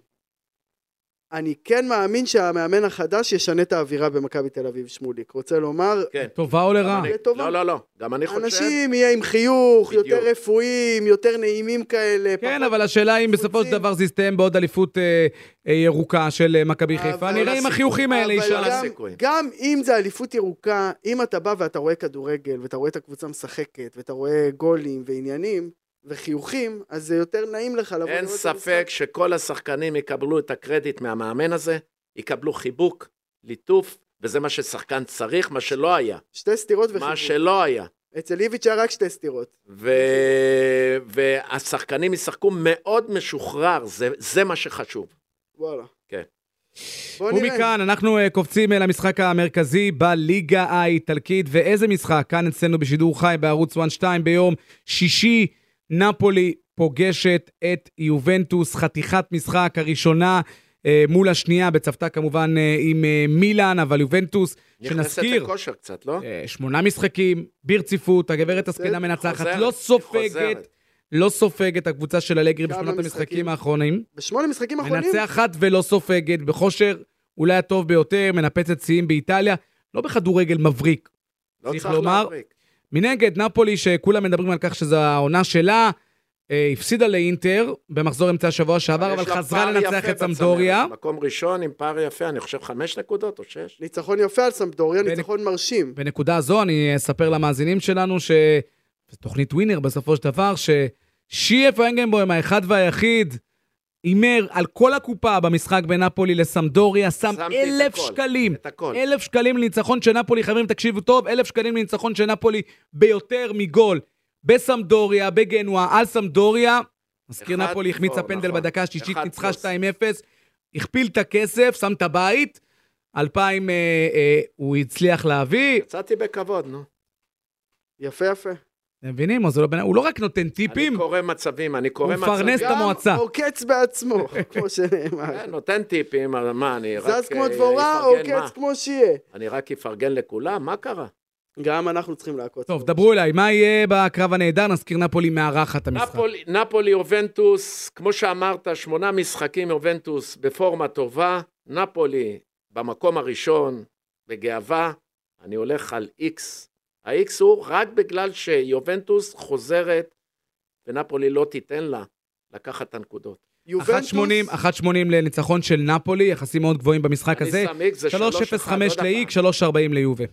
Speaker 4: אני כן מאמין שהמאמן החדש ישנה את האווירה במכבי תל אביב, שמוליק. רוצה לומר,
Speaker 3: כן.
Speaker 2: טובה או לרעה?
Speaker 3: אני-
Speaker 4: לטובה.
Speaker 3: לא, לא, לא. גם אני חושב...
Speaker 4: אנשים יהיה עם חיוך,
Speaker 3: בדיוק.
Speaker 4: יותר רפואיים, יותר נעימים כאלה.
Speaker 2: כן,
Speaker 4: פחות-
Speaker 2: אבל השאלה אם בסופו של
Speaker 4: חוצים.
Speaker 2: דבר זה יסתיים בעוד אליפות אה, אה, ירוקה של אה, מכבי חיפה.
Speaker 4: אבל-
Speaker 2: נראה אם החיוכים האלה
Speaker 4: אבל
Speaker 2: יישאר.
Speaker 3: יאללה,
Speaker 4: גם-
Speaker 3: סיכויים.
Speaker 4: גם אם זה אליפות ירוקה, אם אתה בא ואתה רואה כדורגל, ואתה רואה את הקבוצה משחקת, ואתה רואה גולים ועניינים, וחיוכים, אז זה יותר נעים לך לבוא
Speaker 3: אין
Speaker 4: לראות את
Speaker 3: ספק שכל השחקנים יקבלו את הקרדיט מהמאמן הזה, יקבלו חיבוק, ליטוף, וזה מה ששחקן צריך, מה שלא היה.
Speaker 4: שתי סטירות
Speaker 3: מה
Speaker 4: וחיוכים.
Speaker 3: שלא היה.
Speaker 4: אצל איביץ' היה רק שתי סטירות.
Speaker 3: ו... והשחקנים ישחקו מאוד משוחרר, זה, זה מה שחשוב.
Speaker 4: וואלה.
Speaker 3: כן.
Speaker 4: בוא נראה.
Speaker 2: ומכאן אנחנו אה, קופצים אה, למשחק המרכזי בליגה האיטלקית, ואיזה משחק? כאן אצלנו בשידור חי בערוץ 1-2 ביום שישי, נפולי פוגשת את יובנטוס, חתיכת משחק הראשונה אה, מול השנייה, בצוותא כמובן אה, עם אה, מילאן, אבל יובנטוס,
Speaker 3: נכנסת
Speaker 2: שנזכיר,
Speaker 3: לכושר קצת, לא?
Speaker 2: אה, שמונה משחקים ברציפות, הגברת הזקנה מנצחת,
Speaker 3: חוזרת,
Speaker 2: לא סופגת,
Speaker 3: חוזרת.
Speaker 2: לא סופגת הקבוצה של אלגרי
Speaker 4: כמה
Speaker 2: בשמונת המשחקים
Speaker 4: משחקים?
Speaker 2: האחרונים.
Speaker 4: בשמונה משחקים אחרונים,
Speaker 2: מנצחת ולא סופגת, בכושר אולי הטוב ביותר, מנפצת שיאים באיטליה, לא בכדורגל מבריק.
Speaker 3: לא
Speaker 2: צריך
Speaker 3: צריך
Speaker 2: לומר-
Speaker 3: להבריק.
Speaker 2: מנגד, נפולי, שכולם מדברים על כך שזו העונה שלה, אה, הפסידה לאינטר במחזור אמצע השבוע שעבר,
Speaker 3: יש
Speaker 2: אבל
Speaker 3: לה
Speaker 2: חזרה
Speaker 3: פער
Speaker 2: לנצח
Speaker 3: יפה
Speaker 2: את סמדוריה.
Speaker 3: בצמרת, מקום ראשון עם פער יפה, אני חושב חמש נקודות או שש.
Speaker 4: ניצחון יפה על סמפדוריה,
Speaker 2: בנק-
Speaker 4: ניצחון מרשים.
Speaker 2: בנקודה זו אני אספר למאזינים שלנו ש... זו תוכנית ווינר בסופו של דבר, ששיאף אנגנבוים האחד והיחיד הימר על כל הקופה במשחק בין נפולי לסמדוריה, שם
Speaker 3: שמתי את
Speaker 2: אלף
Speaker 3: הכל,
Speaker 2: שקלים.
Speaker 3: את הכל.
Speaker 2: אלף שקלים לניצחון של נפולי, חברים, תקשיבו טוב, אלף שקלים לניצחון של נפולי ביותר מגול בסמדוריה, בגנואה, על סמדוריה. מזכיר
Speaker 3: אחד
Speaker 2: נפולי החמיצה
Speaker 3: פלוס,
Speaker 2: פנדל
Speaker 3: נכון.
Speaker 2: בדקה השישית,
Speaker 3: אחד
Speaker 2: ניצחה 2-0,
Speaker 3: פלוס.
Speaker 2: הכפיל את הכסף, שם את הבית, 2,000 אה, אה, הוא הצליח להביא.
Speaker 3: יצאתי בכבוד, נו.
Speaker 4: יפה יפה.
Speaker 2: אתם מבינים? אז הוא לא בן- הוא לא רק נותן
Speaker 3: אני
Speaker 2: טיפים,
Speaker 3: קורא מצבים, אני
Speaker 2: הוא
Speaker 3: קורא מצבים.
Speaker 2: מפרנס את המועצה.
Speaker 4: גם עוקץ בעצמו, כמו שנאמר.
Speaker 3: כן, נותן טיפים, אבל מה, אני רק...
Speaker 4: זז כמו
Speaker 3: אה,
Speaker 4: דבורה, אוקיי,
Speaker 3: אפרגן, מה?
Speaker 4: עוקץ כמו שיהיה.
Speaker 3: אני רק אפרגן לכולם, מה קרה?
Speaker 4: גם אנחנו צריכים לעקוץ.
Speaker 2: טוב,
Speaker 4: פה.
Speaker 2: דברו אליי, מה יהיה בקרב הנהדר? נזכיר נפולי מארחת המשחק.
Speaker 3: נפולי, נפולי יובנטוס, כמו שאמרת, שמונה משחקים יובנטוס בפורמה טובה. נפולי במקום הראשון, בגאווה, אני הולך על איקס. האיקס הוא רק בגלל שיובנטוס חוזרת ונפולי לא תיתן לה לקחת את הנקודות.
Speaker 2: 1.80 1.80 לניצחון של נפולי, יחסים מאוד גבוהים במשחק
Speaker 3: אני
Speaker 2: הזה.
Speaker 3: שם איקס, זה לא
Speaker 2: 3.05
Speaker 3: 3-1, עוד
Speaker 2: לאיק,
Speaker 3: הפעם.
Speaker 2: 3.40 ליובה.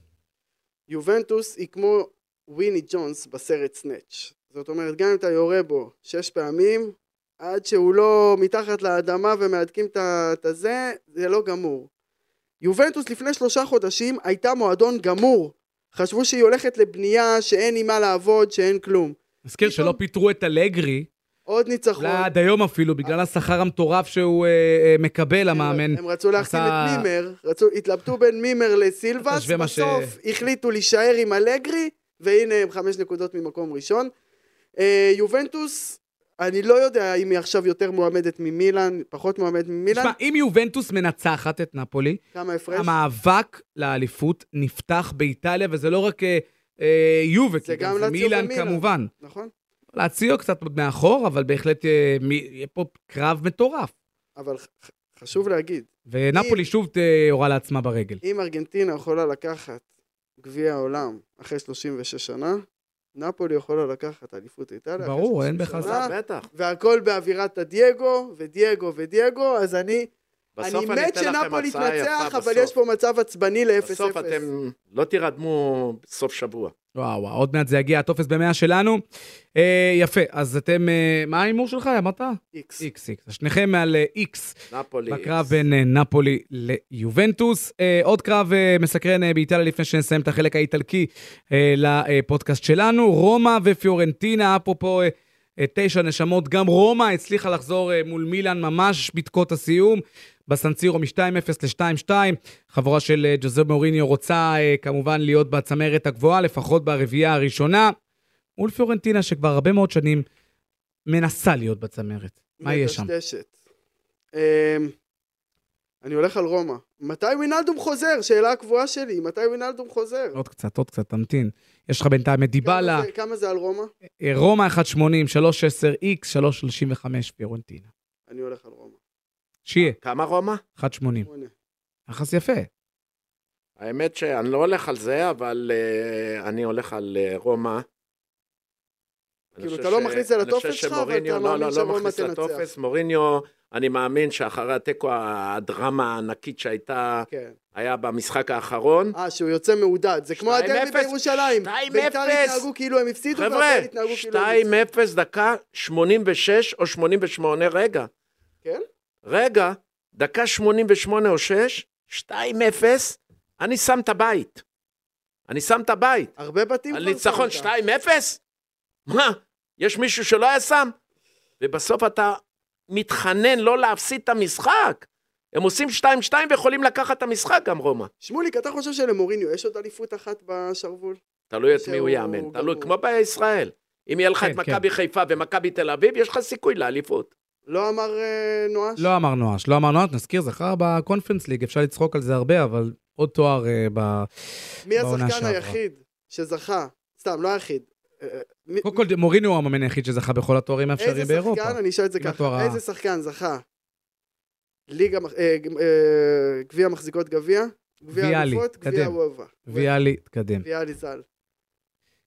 Speaker 4: יובנטוס היא כמו וויני ג'ונס בסרט סנאץ'. זאת אומרת, גם אם אתה יורה בו שש פעמים, עד שהוא לא מתחת לאדמה ומהדקים את ה- את הזה, זה לא גמור. יובנטוס לפני שלושה חודשים הייתה מועדון גמור. חשבו שהיא הולכת לבנייה, שאין עם מה לעבוד, שאין כלום.
Speaker 2: נזכיר
Speaker 4: פתאום- נכון.
Speaker 2: שלא פיטרו את אלגרי,
Speaker 4: עוד ניצחון.
Speaker 2: אולי עד היום אפילו, בגלל השכר המטורף שהוא אה, אה, מקבל,
Speaker 4: הם-
Speaker 2: המאמן.
Speaker 4: הם רצו להחתים
Speaker 2: עשה-
Speaker 4: את מימר, רצו, התלבטו בין מימר לסילבס,
Speaker 2: תשווה מה ש-
Speaker 4: בסוף החליטו להישאר עם אלגרי, והנה הם חמש נקודות ממקום ראשון. אה, יובנטוס, אני לא יודע אם היא עכשיו יותר מועמדת ממילן, פחות מועמדת ממילן,
Speaker 2: תשמע, אם יובנטוס מנצחת את נפולי,
Speaker 4: כמה הפרש?
Speaker 2: המאבק לאליפות נפתח באיטליה, וזה לא רק אה, אה, יובה,
Speaker 4: זה
Speaker 2: כי
Speaker 4: גם
Speaker 2: גם זה
Speaker 4: לאציו
Speaker 2: מילאן
Speaker 4: ומילאן.
Speaker 2: כמובן.
Speaker 4: נכון?
Speaker 2: לאציו קצת עוד מאחור, אבל בהחלט אה, מי- יהיה פה קרב מטורף.
Speaker 4: אבל ח- ח- חשוב להגיד,
Speaker 2: ונפולי
Speaker 4: אם-
Speaker 2: שוב ת- יורה לעצמה ברגל.
Speaker 4: אם ארגנטינה יכולה לקחת גביע העולם אחרי 36 שנה, נפולי יכולה לקחת אליפות איטליה. אחרי
Speaker 2: ברור, אין
Speaker 4: 30
Speaker 2: בכלל
Speaker 4: שנה,
Speaker 2: ספק.
Speaker 3: אה, בטח.
Speaker 4: והכל באווירת הדייגו, ודייגו ודייגו, אז אני
Speaker 3: בסוף
Speaker 4: אני מת
Speaker 3: אתן לכם
Speaker 4: שנפולי
Speaker 3: הצעה יפה
Speaker 4: תנצח, אבל
Speaker 3: בסוף.
Speaker 4: יש פה מצב עצבני
Speaker 3: בסוף
Speaker 4: ל-0-0.
Speaker 3: אתם לא תירדמו סוף שבוע.
Speaker 2: וואו, וואו, עוד מעט זה יגיע, הטופס במאה שלנו. אה, יפה, אז אתם, אה, מה ההימור שלך, אמרת?
Speaker 4: איקס.
Speaker 2: איקס, איקס. אז שניכם על אה, איקס.
Speaker 3: נפולי.
Speaker 2: בקרב בין אה, נפולי ליובנטוס. אה, עוד קרב אה, מסקרן אה, באיטליה לפני שנסיים את החלק האיטלקי אה, לפודקאסט שלנו. רומא ופיורנטינה, אפרופו אה, אה, תשע נשמות, גם רומא הצליחה לחזור אה, מול מילאן ממש בדקות הסיום. בסנסירו מ-2-0 ל-2-2, חבורה של אה, ג'וזה מוריניו רוצה אה, כמובן להיות בצמרת הגבוהה, לפחות ברביעייה הראשונה, מול פיורנטינה שכבר הרבה מאוד שנים מנסה להיות בצמרת. מה יהיה שם?
Speaker 4: מדשדשת. אמ, אני הולך על רומא. מתי וינאלדום חוזר? שאלה הקבועה שלי, מתי וינאלדום חוזר?
Speaker 2: עוד קצת, עוד קצת, תמתין. יש לך בינתיים את
Speaker 4: כמה
Speaker 2: דיבלה,
Speaker 4: זה- כמה זה על רומא?
Speaker 2: אה, רומא 1.80, 3.10 איקס, 3.35 פיורנטינה.
Speaker 4: אני הולך על רומא.
Speaker 2: שיהיה,
Speaker 3: כמה רומא?
Speaker 2: 1.80. יחס יפה.
Speaker 3: האמת שאני לא הולך על זה, אבל אה, אני הולך על אה, רומא. אני
Speaker 4: כאילו,
Speaker 3: חושב
Speaker 4: אתה לא
Speaker 3: ש-
Speaker 4: מכניס את זה
Speaker 3: אני
Speaker 4: לטופס
Speaker 3: חושב
Speaker 4: שלך, אבל
Speaker 3: שמוריניו-
Speaker 4: אתה
Speaker 3: לא,
Speaker 4: מאמין
Speaker 3: לא,
Speaker 4: שרומא
Speaker 3: לא מכניס
Speaker 4: תנצח.
Speaker 3: לטופס. מוריניו, אני מאמין שאחרי התיקו הדרמה הענקית שהייתה,
Speaker 4: כן.
Speaker 3: היה במשחק האחרון,
Speaker 4: אה, שהוא יוצא מעודד. זה כמו
Speaker 3: 2-0,
Speaker 4: הדרבי בירושלים.
Speaker 3: 2-0.
Speaker 4: ביתר התנהגו כאילו הם הפסידו,
Speaker 3: חבר'ה,
Speaker 4: והפועל התנהגו כאילו הם הפסידו.
Speaker 3: 2-0 דקה 86 או 88, רגע.
Speaker 4: כן?
Speaker 3: רגע, דקה 88 או 6, 2-0, אני שם את הבית. אני שם את הבית.
Speaker 4: הרבה בתים
Speaker 3: על
Speaker 4: כבר
Speaker 3: ניצחון
Speaker 4: שמת.
Speaker 3: 2-0? מה, יש מישהו שלא היה שם? ובסוף אתה מתחנן לא להפסיד את המשחק. הם עושים 2-2 ויכולים לקחת את המשחק גם רומא.
Speaker 4: שמוליק, אתה חושב שלמוריניו יש עוד אליפות אחת בשרוול?
Speaker 3: תלוי את מי הוא
Speaker 4: שהוא
Speaker 3: יאמן, תלוי,
Speaker 4: גמור.
Speaker 3: כמו בישראל. אם יהיה לך
Speaker 2: כן,
Speaker 3: את מכבי חיפה ומכבי תל אביב, יש לך סיכוי לאליפות.
Speaker 4: לא אמר אה, נואש?
Speaker 2: לא אמר נואש, לא אמר נואש, נזכיר, זכר בקונפרנס ליג, אפשר לצחוק על זה הרבה, אבל עוד תואר אה, ב...
Speaker 4: מי
Speaker 2: בעונה
Speaker 4: השחקן
Speaker 2: שעברה.
Speaker 4: היחיד שזכה? סתם, לא היחיד. אה, אה, מי-
Speaker 2: קודם כל, מורינו הוא המאמן היחיד שזכה בכל התוארים האפשריים
Speaker 4: איזה
Speaker 2: באירופה.
Speaker 4: שחקן, אני אשאל את זה
Speaker 2: עם התואר
Speaker 4: ככה,
Speaker 2: ה-
Speaker 4: איזה שחקן זכה? ליגה, מח- אה, ג- אה, גביע מחזיקות גביע? גביע
Speaker 2: ויאלי,
Speaker 4: אלופות, גביע
Speaker 2: קדם.
Speaker 4: וופא.
Speaker 2: ויאלי, תקדם.
Speaker 4: ויאלי ז"ל.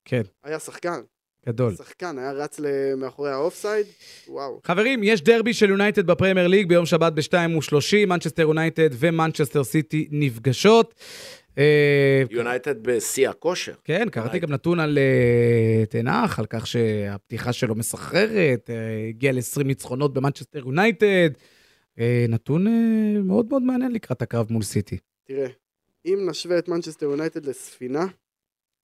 Speaker 2: כן,
Speaker 4: היה שחקן,
Speaker 2: גדול.
Speaker 4: שחקן, היה רץ ל- מאחורי האופסייד, וואו.
Speaker 2: חברים, יש דרבי של יונייטד בפרמייר ליג ביום שבת ב-2:30, מנצ'סטר יונייטד ומנצ'סטר סיטי נפגשות. אה,
Speaker 4: אוקיי.
Speaker 3: יונייטד בשיא הכושר.
Speaker 2: כן, קראתי
Speaker 3: אולי.
Speaker 2: גם נתון על אה, תנח, על כך שהפתיחה שלו מסחררת, אה, הגיע ל-20 ניצחונות במנצ'סטר יונייטד. אה, נתון אה, מאוד מאוד מעניין לקראת הקרב מול סיטי.
Speaker 4: תראה, אם נשווה את מנצ'סטר יונייטד לספינה,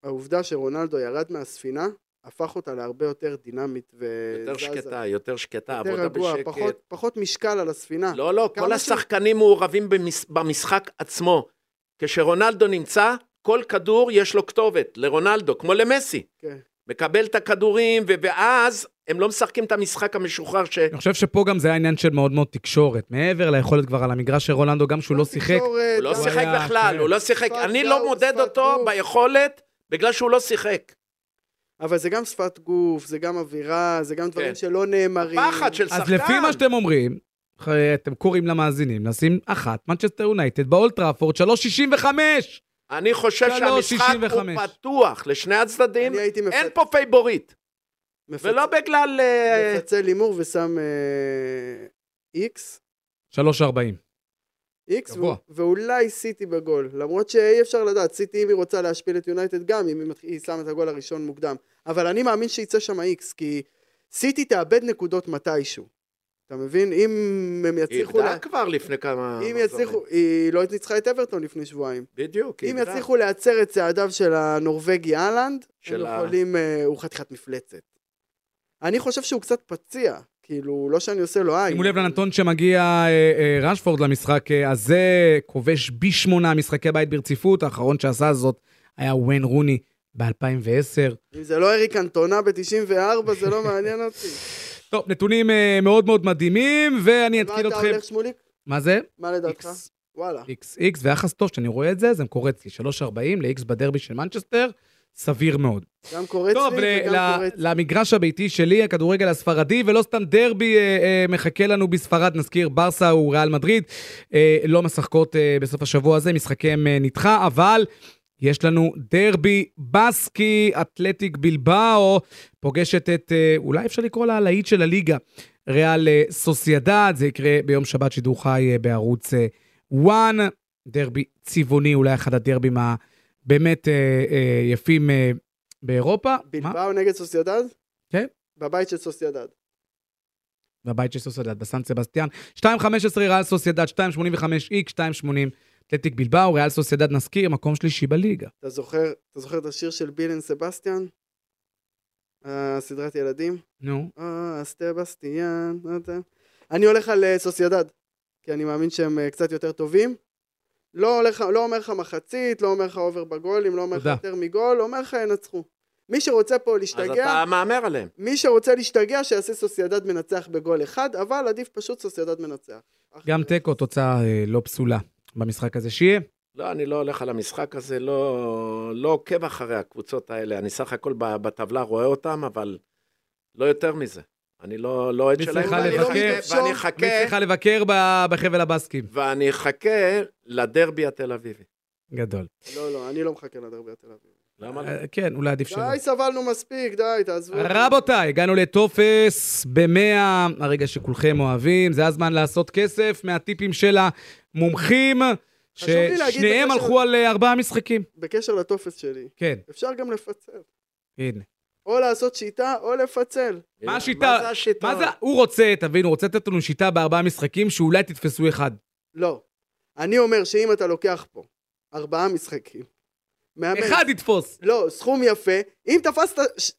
Speaker 4: העובדה שרונלדו ירד מהספינה, הפך אותה להרבה יותר דינמית וזזה.
Speaker 3: יותר שקטה, יותר שקטה,
Speaker 4: אה, יותר
Speaker 3: עבודה
Speaker 4: רגוע,
Speaker 3: בשקט.
Speaker 4: פחות, פחות משקל על הספינה.
Speaker 3: לא, לא, כל
Speaker 4: אה, כמה
Speaker 3: השחקנים מעורבים במש- במשחק עצמו. כשרונלדו נמצא, כל כדור יש לו כתובת, לרונלדו, כמו למסי.
Speaker 4: כן.
Speaker 3: מקבל את הכדורים, ו- ואז הם לא משחקים את המשחק המשוחרר ש...
Speaker 2: אני חושב שפה גם זה היה עניין של מאוד מאוד תקשורת. מעבר ליכולת כבר על המגרש של רולנדו, גם שהוא לא שיחק,
Speaker 4: תקשורת,
Speaker 3: הוא לא
Speaker 4: גם-
Speaker 2: הוא
Speaker 3: שיחק
Speaker 2: היה-
Speaker 3: בכלל,
Speaker 2: כן.
Speaker 3: הוא לא שיחק.
Speaker 4: שפת
Speaker 3: אני
Speaker 4: גוף,
Speaker 3: לא מודד
Speaker 4: שפת
Speaker 3: אותו
Speaker 4: גוף.
Speaker 3: ביכולת בגלל שהוא לא שיחק.
Speaker 4: אבל זה גם שפת גוף, זה גם אווירה, זה גם דברים
Speaker 3: כן.
Speaker 4: שלא נאמרים.
Speaker 3: פחד של שחקן.
Speaker 2: אז לפי מה שאתם אומרים, ח- אתם קוראים למאזינים, נשים אחת, מנצ'סטר יונייטד, באולטראפורד, 3.65!
Speaker 3: אני חושב
Speaker 2: שלוש,
Speaker 3: שהמשחק הוא
Speaker 2: 65.
Speaker 3: פתוח לשני הצדדים,
Speaker 4: אני הייתי מפ-
Speaker 3: אין פה פייבוריט,
Speaker 4: מפצ-
Speaker 3: ולא בגלל... אה,
Speaker 4: מפצל הימור ושם אה, איקס,
Speaker 2: 3.40.
Speaker 4: איקס,
Speaker 2: גבוה.
Speaker 4: ו- ואולי סיטי בגול. למרות שאי אפשר לדעת, סיטי אם היא רוצה להשפיל את יונייטד גם, אם היא מתח- היא שמה את הגול הראשון מוקדם. אבל אני מאמין שיצא שם איקס, כי סיטי תאבד נקודות מתישהו. אתה מבין? אם הם
Speaker 3: היא אה,
Speaker 4: יצליחו... לה-
Speaker 3: איבדה כבר לפני כמה...
Speaker 4: אם
Speaker 3: מחזורים.
Speaker 4: יצליחו... היא לא ניצחה את אברטון לפני שבועיים.
Speaker 3: בדיוק, היא
Speaker 4: אם
Speaker 3: איבדה.
Speaker 4: יצליחו להצר את צעדיו של הנורבגי אהלנד, הם
Speaker 3: של ה-
Speaker 4: יכולים, אה, הוא חתיכת מפלצת. אני חושב שהוא קצת פציע, כאילו, לא שאני עושה לו עין.
Speaker 2: שימו לב לנתון שמגיע אה, אה, רשפורד למשחק אה, הזה, כובש פי שמונה משחקי בית ברציפות, האחרון שעשה זאת היה וויין רוני ב-2010.
Speaker 4: אם זה לא אריק אנטונה ב-94, זה לא מעניין אותי.
Speaker 2: טוב, נתונים אה, מאוד מאוד מדהימים, ואני
Speaker 4: מה
Speaker 2: אתקיל
Speaker 4: אתה
Speaker 2: אתכם...
Speaker 4: הולך, שמוליק?
Speaker 2: מה זה?
Speaker 4: מה לדעתך?
Speaker 2: איקס.
Speaker 4: וואלה.
Speaker 2: איקס איקס, ויחס טוב שאני רואה את זה, זה קורץ לי. 3.40 לאיקס בדרבי של מנצ'סטר, סביר מאוד.
Speaker 4: גם קורץ
Speaker 2: טוב,
Speaker 4: לי
Speaker 2: ל-
Speaker 4: וגם
Speaker 2: ל-
Speaker 4: קורץ.
Speaker 2: למגרש הביתי שלי, הכדורגל הספרדי, ולא סתם דרבי אה, אה, מחכה לנו בספרד, נזכיר, ברסה הוא ריאל מדריד, אה, לא משחקות אה, בסוף השבוע הזה, משחקיהם אה, נדחה, אבל יש לנו דרבי בסקי, אתלטיק בלבאו, פוגשת את, אה, אולי אפשר לקרוא לה הלהיט של הליגה, ריאל אה, סוסיידד, זה יקרה ביום שבת שידור חי אה, בערוץ אה, וואן, דרבי צבעוני, אולי אחד הדרבים ה... באמת אה, אה, יפים אה, באירופה. מה?
Speaker 4: בלבאו נגד סוסיידד?
Speaker 2: כן.
Speaker 4: בבית של סוסיידד.
Speaker 2: בבית של סוסיידד, בסן סבסטיאן. 2.15 ריאל סוסיידד, 2.85 איק, 2.80 אתלטיק בלבאו, ריאל סוסיידד נזכיר, מקום שלישי בליגה.
Speaker 4: אתה זוכר, אתה זוכר את השיר של בילן סבסטיאן? הסדרת ילדים?
Speaker 2: נו,
Speaker 4: אה, סטבסטיאן, לא יודע. אני הולך על אה, סוסיידד, כי אני מאמין שהם אה, קצת יותר טובים. לא, הולך, לא אומר לך מחצית, לא אומר לך אובר בגולים, לא אומר לך
Speaker 2: תודה.
Speaker 4: יותר מגול, אומר לך ינצחו. מי שרוצה פה
Speaker 3: אז
Speaker 4: להשתגע,
Speaker 3: אתה מהמר עליהם.
Speaker 4: מי שרוצה להשתגע, שיעשה סוסיידד מנצח בגול אחד, אבל עדיף פשוט סוסיידד מנצח.
Speaker 2: גם תיקו, תוצאה אה, לא פסולה במשחק הזה שיהיה.
Speaker 3: לא, אני לא הולך על המשחק הזה, לא, לא עוקב אחרי הקבוצות האלה. אני סך הכל ב- בטבלה רואה אותם, אבל לא יותר מזה. אני לא לא עד שלהם,
Speaker 2: וצריכה
Speaker 3: ואני לא
Speaker 2: לבקר.
Speaker 3: מתערב, ואני אחכה,
Speaker 2: מי צריכה לבקר ב- בחבל הבאסקים?
Speaker 3: ואני אחכה לדרבי התל אביבי.
Speaker 2: גדול.
Speaker 4: לא, לא, אני לא מחכה לדרבי התל אביב.
Speaker 3: למה לא?
Speaker 2: אה, כן, אולי עדיף שלא.
Speaker 4: די, סבלנו מספיק, די, תעזבו.
Speaker 2: רבותיי, הגענו לטופס במאה, הרגע שכולכם אוהבים, זה הזמן לעשות כסף מהטיפים של המומחים,
Speaker 4: חשוב לי להגיד
Speaker 2: ששניהם
Speaker 4: בקשר-
Speaker 2: הלכו על אה, ארבעה משחקים.
Speaker 4: בקשר לטופס שלי,
Speaker 2: כן,
Speaker 4: אפשר גם לפצל.
Speaker 2: הנה.
Speaker 4: או לעשות שיטה, או לפצל.
Speaker 2: מה השיטה?
Speaker 3: מה זה השיטה?
Speaker 2: מה זה, הוא רוצה, תבין, הוא רוצה לתת לנו שיטה בארבעה משחקים שאולי תתפסו אחד.
Speaker 4: לא. אני אומר שאם אתה לוקח פה ארבעה משחקים, מאמן...
Speaker 2: אחד יתפוס.
Speaker 4: לא, סכום יפה. אם תפסת... ש-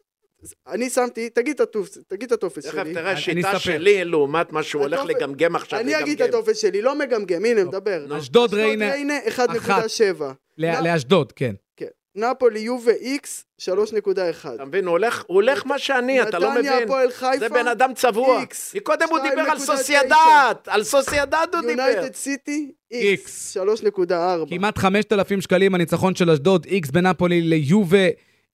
Speaker 4: אני שמתי, תגיד את הטופס, תגיד את הטופס
Speaker 3: תכף
Speaker 4: שלי.
Speaker 3: תראה
Speaker 2: אני
Speaker 3: שיטה
Speaker 2: אספר.
Speaker 3: שלי לעומת מה שהוא הולך
Speaker 4: הטופס-
Speaker 3: לגמגם עכשיו.
Speaker 4: אני אגיד את
Speaker 3: לגמגם.
Speaker 4: הטופס שלי, לא מגמגם, הנה, מדבר.
Speaker 2: אשדוד ריינה,
Speaker 4: לא, ריינה 1.7.
Speaker 2: לא-
Speaker 4: לא.
Speaker 2: לאשדוד, כן.
Speaker 4: כן. נפולי, יובה, איקס, 3.1.
Speaker 3: כן. אתה מבין? הוא הולך- הוא הולך מה שאני, אתה לא
Speaker 4: נתניה,
Speaker 3: מבין.
Speaker 4: הפועל חיפה,
Speaker 3: זה בן אדם צבוע.
Speaker 4: X.
Speaker 3: קודם הוא דיבר על
Speaker 4: 2.9.
Speaker 3: סוסיידד, על סוסיידד הוא דיבר.
Speaker 4: יונייטד סיטי,
Speaker 2: X.
Speaker 4: איקס, 3.4.
Speaker 2: כמעט 5,000 שקלים הניצחון של אשדוד, איקס בין נפולי ליובה,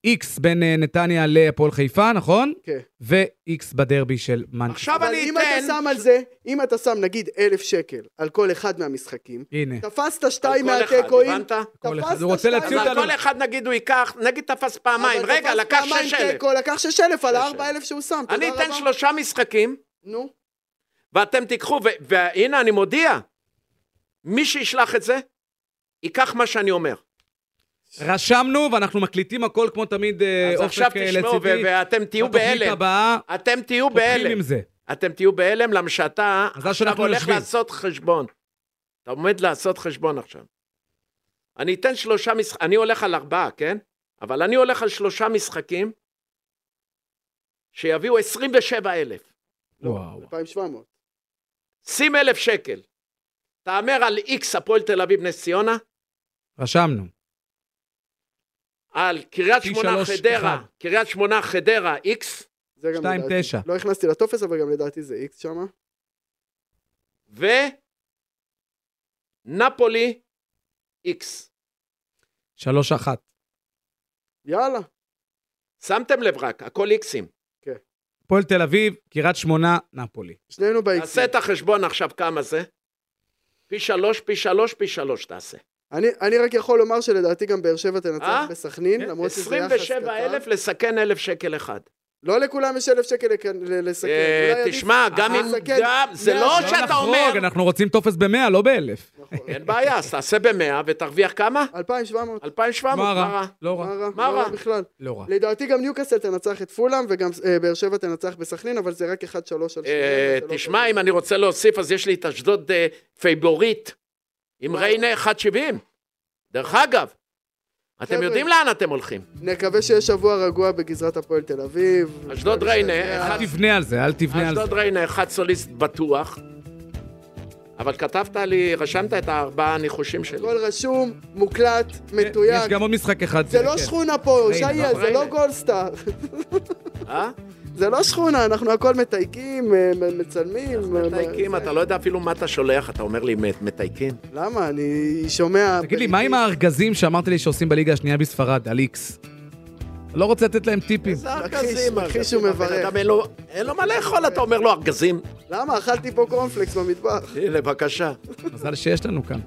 Speaker 2: איקס בין אה, נתניה להפועל חיפה, נכון?
Speaker 4: כן.
Speaker 2: ואיקס בדרבי של מנצ'סטר.
Speaker 3: עכשיו
Speaker 4: אבל
Speaker 3: אני
Speaker 4: אם
Speaker 3: אתן...
Speaker 4: אתה שם על זה, אם אתה שם נגיד אלף שקל על כל אחד מהמשחקים,
Speaker 2: הנה.
Speaker 4: תפסת שתיים
Speaker 3: על כל אחד,
Speaker 4: מהתיקואים,
Speaker 3: הבנת?
Speaker 2: כל אחד.
Speaker 4: תפסת
Speaker 2: הוא רוצה
Speaker 4: שתיים-
Speaker 2: להציל
Speaker 3: אז
Speaker 2: אותנו.
Speaker 3: על כל אחד נגיד הוא ייקח, נגיד תפס פעמיים,
Speaker 4: אבל
Speaker 3: רגע,
Speaker 4: תפס
Speaker 3: לקח
Speaker 4: פעמיים
Speaker 3: 6,000.
Speaker 4: תיקו, לקח שש אלף על
Speaker 3: שש
Speaker 4: הארבע
Speaker 3: אלף.
Speaker 4: אלף שהוא שם, תודה
Speaker 3: אני
Speaker 4: רבה.
Speaker 3: אתן שלושה משחקים,
Speaker 4: נו,
Speaker 3: ואתם תיקחו, ו- והנה אני מודיע, מי שישלח את זה, ייקח מה שאני אומר.
Speaker 2: רשמנו, ואנחנו מקליטים הכל כמו תמיד אה,
Speaker 3: אז עכשיו
Speaker 2: אופק אה, לצידי.
Speaker 3: תשמעו, ו- ואתם תהיו
Speaker 2: בתוכנית
Speaker 3: בהלם.
Speaker 2: הבאה,
Speaker 3: אתם תהיו
Speaker 2: הולכים
Speaker 3: בהלם.
Speaker 2: עם זה.
Speaker 3: אתם תהיו בהלם, למה שאתה
Speaker 2: מזל
Speaker 3: עכשיו
Speaker 2: שאנחנו
Speaker 3: הולך
Speaker 2: יושבים.
Speaker 3: לעשות חשבון. אתה עומד לעשות חשבון עכשיו. אני אתן שלושה משחקים, אני הולך על ארבעה, כן? אבל אני הולך על שלושה משחקים שיביאו 27,000.
Speaker 2: וואו.
Speaker 4: 2,700.
Speaker 3: שים אלף שקל. תהמר על איקס הפועל תל אביב נס ציונה,
Speaker 2: רשמנו.
Speaker 3: על קריית
Speaker 2: פי
Speaker 3: שמונה
Speaker 2: שלוש,
Speaker 3: חדרה,
Speaker 2: אחד.
Speaker 3: קריית שמונה חדרה איקס,
Speaker 4: זה גם
Speaker 2: שתיים,
Speaker 4: לדעתי.
Speaker 2: תשע.
Speaker 4: לא הכנסתי לטופס, אבל גם לדעתי זה איקס שמה.
Speaker 3: ונפולי איקס.
Speaker 2: שלוש אחת.
Speaker 4: יאללה.
Speaker 3: שמתם לב רק, הכל איקסים.
Speaker 2: הפועל תל אביב, קריית שמונה, נפולי.
Speaker 4: שנינו באיקס.
Speaker 3: תעשה את החשבון עכשיו כמה זה. פי שלוש, פי שלוש, פי שלוש תעשה.
Speaker 4: אני, אני רק יכול לומר שלדעתי גם באר שבע תנצח
Speaker 3: אה?
Speaker 4: בסכנין, למרות שזה יחס קטן.
Speaker 3: 27 אלף לסכן אלף שקל אחד.
Speaker 4: לא לכולם יש אלף שקל לק- ל- לסכן.
Speaker 3: אה,
Speaker 4: אולי עדיף-
Speaker 3: תשמע, גם
Speaker 4: אה,
Speaker 3: אם...
Speaker 4: לסכן.
Speaker 3: גם- זה
Speaker 4: מאה
Speaker 3: לא
Speaker 4: שנה
Speaker 3: שאתה אומר...
Speaker 2: נחרוג, אנחנו רוצים טופס במאה, לא באלף.
Speaker 4: נכון.
Speaker 3: אין בעיה, אז תעשה במאה ותרוויח כמה?
Speaker 4: 2,700.
Speaker 3: 2,700,
Speaker 2: מה
Speaker 3: מה רע?
Speaker 2: רע? לא
Speaker 4: מה
Speaker 2: רע.
Speaker 4: רע?
Speaker 3: מה
Speaker 4: לא
Speaker 3: רע?
Speaker 4: רע בכלל.
Speaker 2: לא רע.
Speaker 4: לדעתי גם ניוקאסל תנצח את פולאם, וגם אה, באר שבע תנצח בסכנין, אבל זה רק 1-3 על שניהם.
Speaker 3: אה,
Speaker 4: זה לא
Speaker 3: תשמע,
Speaker 4: כזה.
Speaker 3: אם אני רוצה להוסיף, אז יש לי את אשדוד אה, פייבוריט, עם
Speaker 4: מה?
Speaker 3: ריינה 1.70. דרך אגב, אתם
Speaker 4: חבר'ה.
Speaker 3: יודעים לאן אתם הולכים.
Speaker 4: נקווה שיש שבוע רגוע בגזרת הפועל תל אביב.
Speaker 3: אשדוד ריינה,
Speaker 2: אל
Speaker 3: אחד-
Speaker 2: תבנה על זה, אל תבנה על זה.
Speaker 3: אשדוד ריינה, אחד סוליסט בטוח. אבל כתבת לי, רשמת את הארבעה הניחושים שלי.
Speaker 4: הכל רשום, מוקלט,
Speaker 2: יש
Speaker 4: מתויג.
Speaker 2: גם עוד משחק אחד.
Speaker 4: זה לא
Speaker 2: כן.
Speaker 4: שכונה פה,
Speaker 2: ריינה,
Speaker 4: שייה,
Speaker 3: לא,
Speaker 4: זה לא
Speaker 3: ריינה.
Speaker 4: גולדסטאר.
Speaker 3: אה?
Speaker 4: זה לא שכונה, אנחנו הכל מתייקים, אה, מ- מצלמים. אה,
Speaker 3: מתייקים,
Speaker 4: זה-
Speaker 3: אתה לא יודע אפילו מה אתה שולח, אתה אומר לי "מת- מתייקים.
Speaker 4: למה? אני שומע...
Speaker 2: תגיד לי, מה עם הארגזים שאמרת לי שעושים בליגה השנייה בספרד, על איקס? לא רוצה לתת להם טיפים.
Speaker 3: זה
Speaker 4: מכחיש,
Speaker 3: ארגזים,
Speaker 4: מכחיש
Speaker 3: ארגזים,
Speaker 4: הוא
Speaker 3: הבן
Speaker 4: מברך.
Speaker 3: אדם, אין לו- אין לו מה לאכול, אתה אומר לו ארגזים.
Speaker 4: למה? אכלתי פה קורנפלקס במטבח.
Speaker 3: הנה, בבקשה.
Speaker 2: מזל שיש לנו כאן.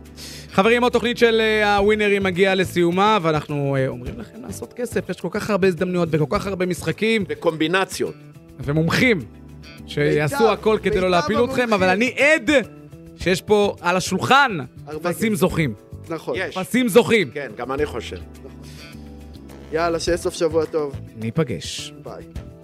Speaker 2: חברים, התוכנית של אה, הווינרים מגיעה לסיומה, ואנחנו אה, אומרים לכם לעשות כסף. יש כל כך הרבה הזדמנויות וכל כך הרבה משחקים
Speaker 3: וקומבינציות.
Speaker 2: ומומחים שיעשו
Speaker 4: מיטב,
Speaker 2: הכל כדי לא
Speaker 4: מיטב
Speaker 2: להפיל אתכם,
Speaker 4: המומחים.
Speaker 2: אבל אני עד שיש פה על השולחן
Speaker 4: הרבה
Speaker 2: פסים
Speaker 4: כסף. כן.
Speaker 2: זוכים.
Speaker 4: נכון.
Speaker 3: יש.
Speaker 2: פסים זוכים.
Speaker 3: כן, גם אני חושב.
Speaker 4: יאללה, שיהיה סוף שבוע טוב.
Speaker 2: ניפגש.
Speaker 4: ביי.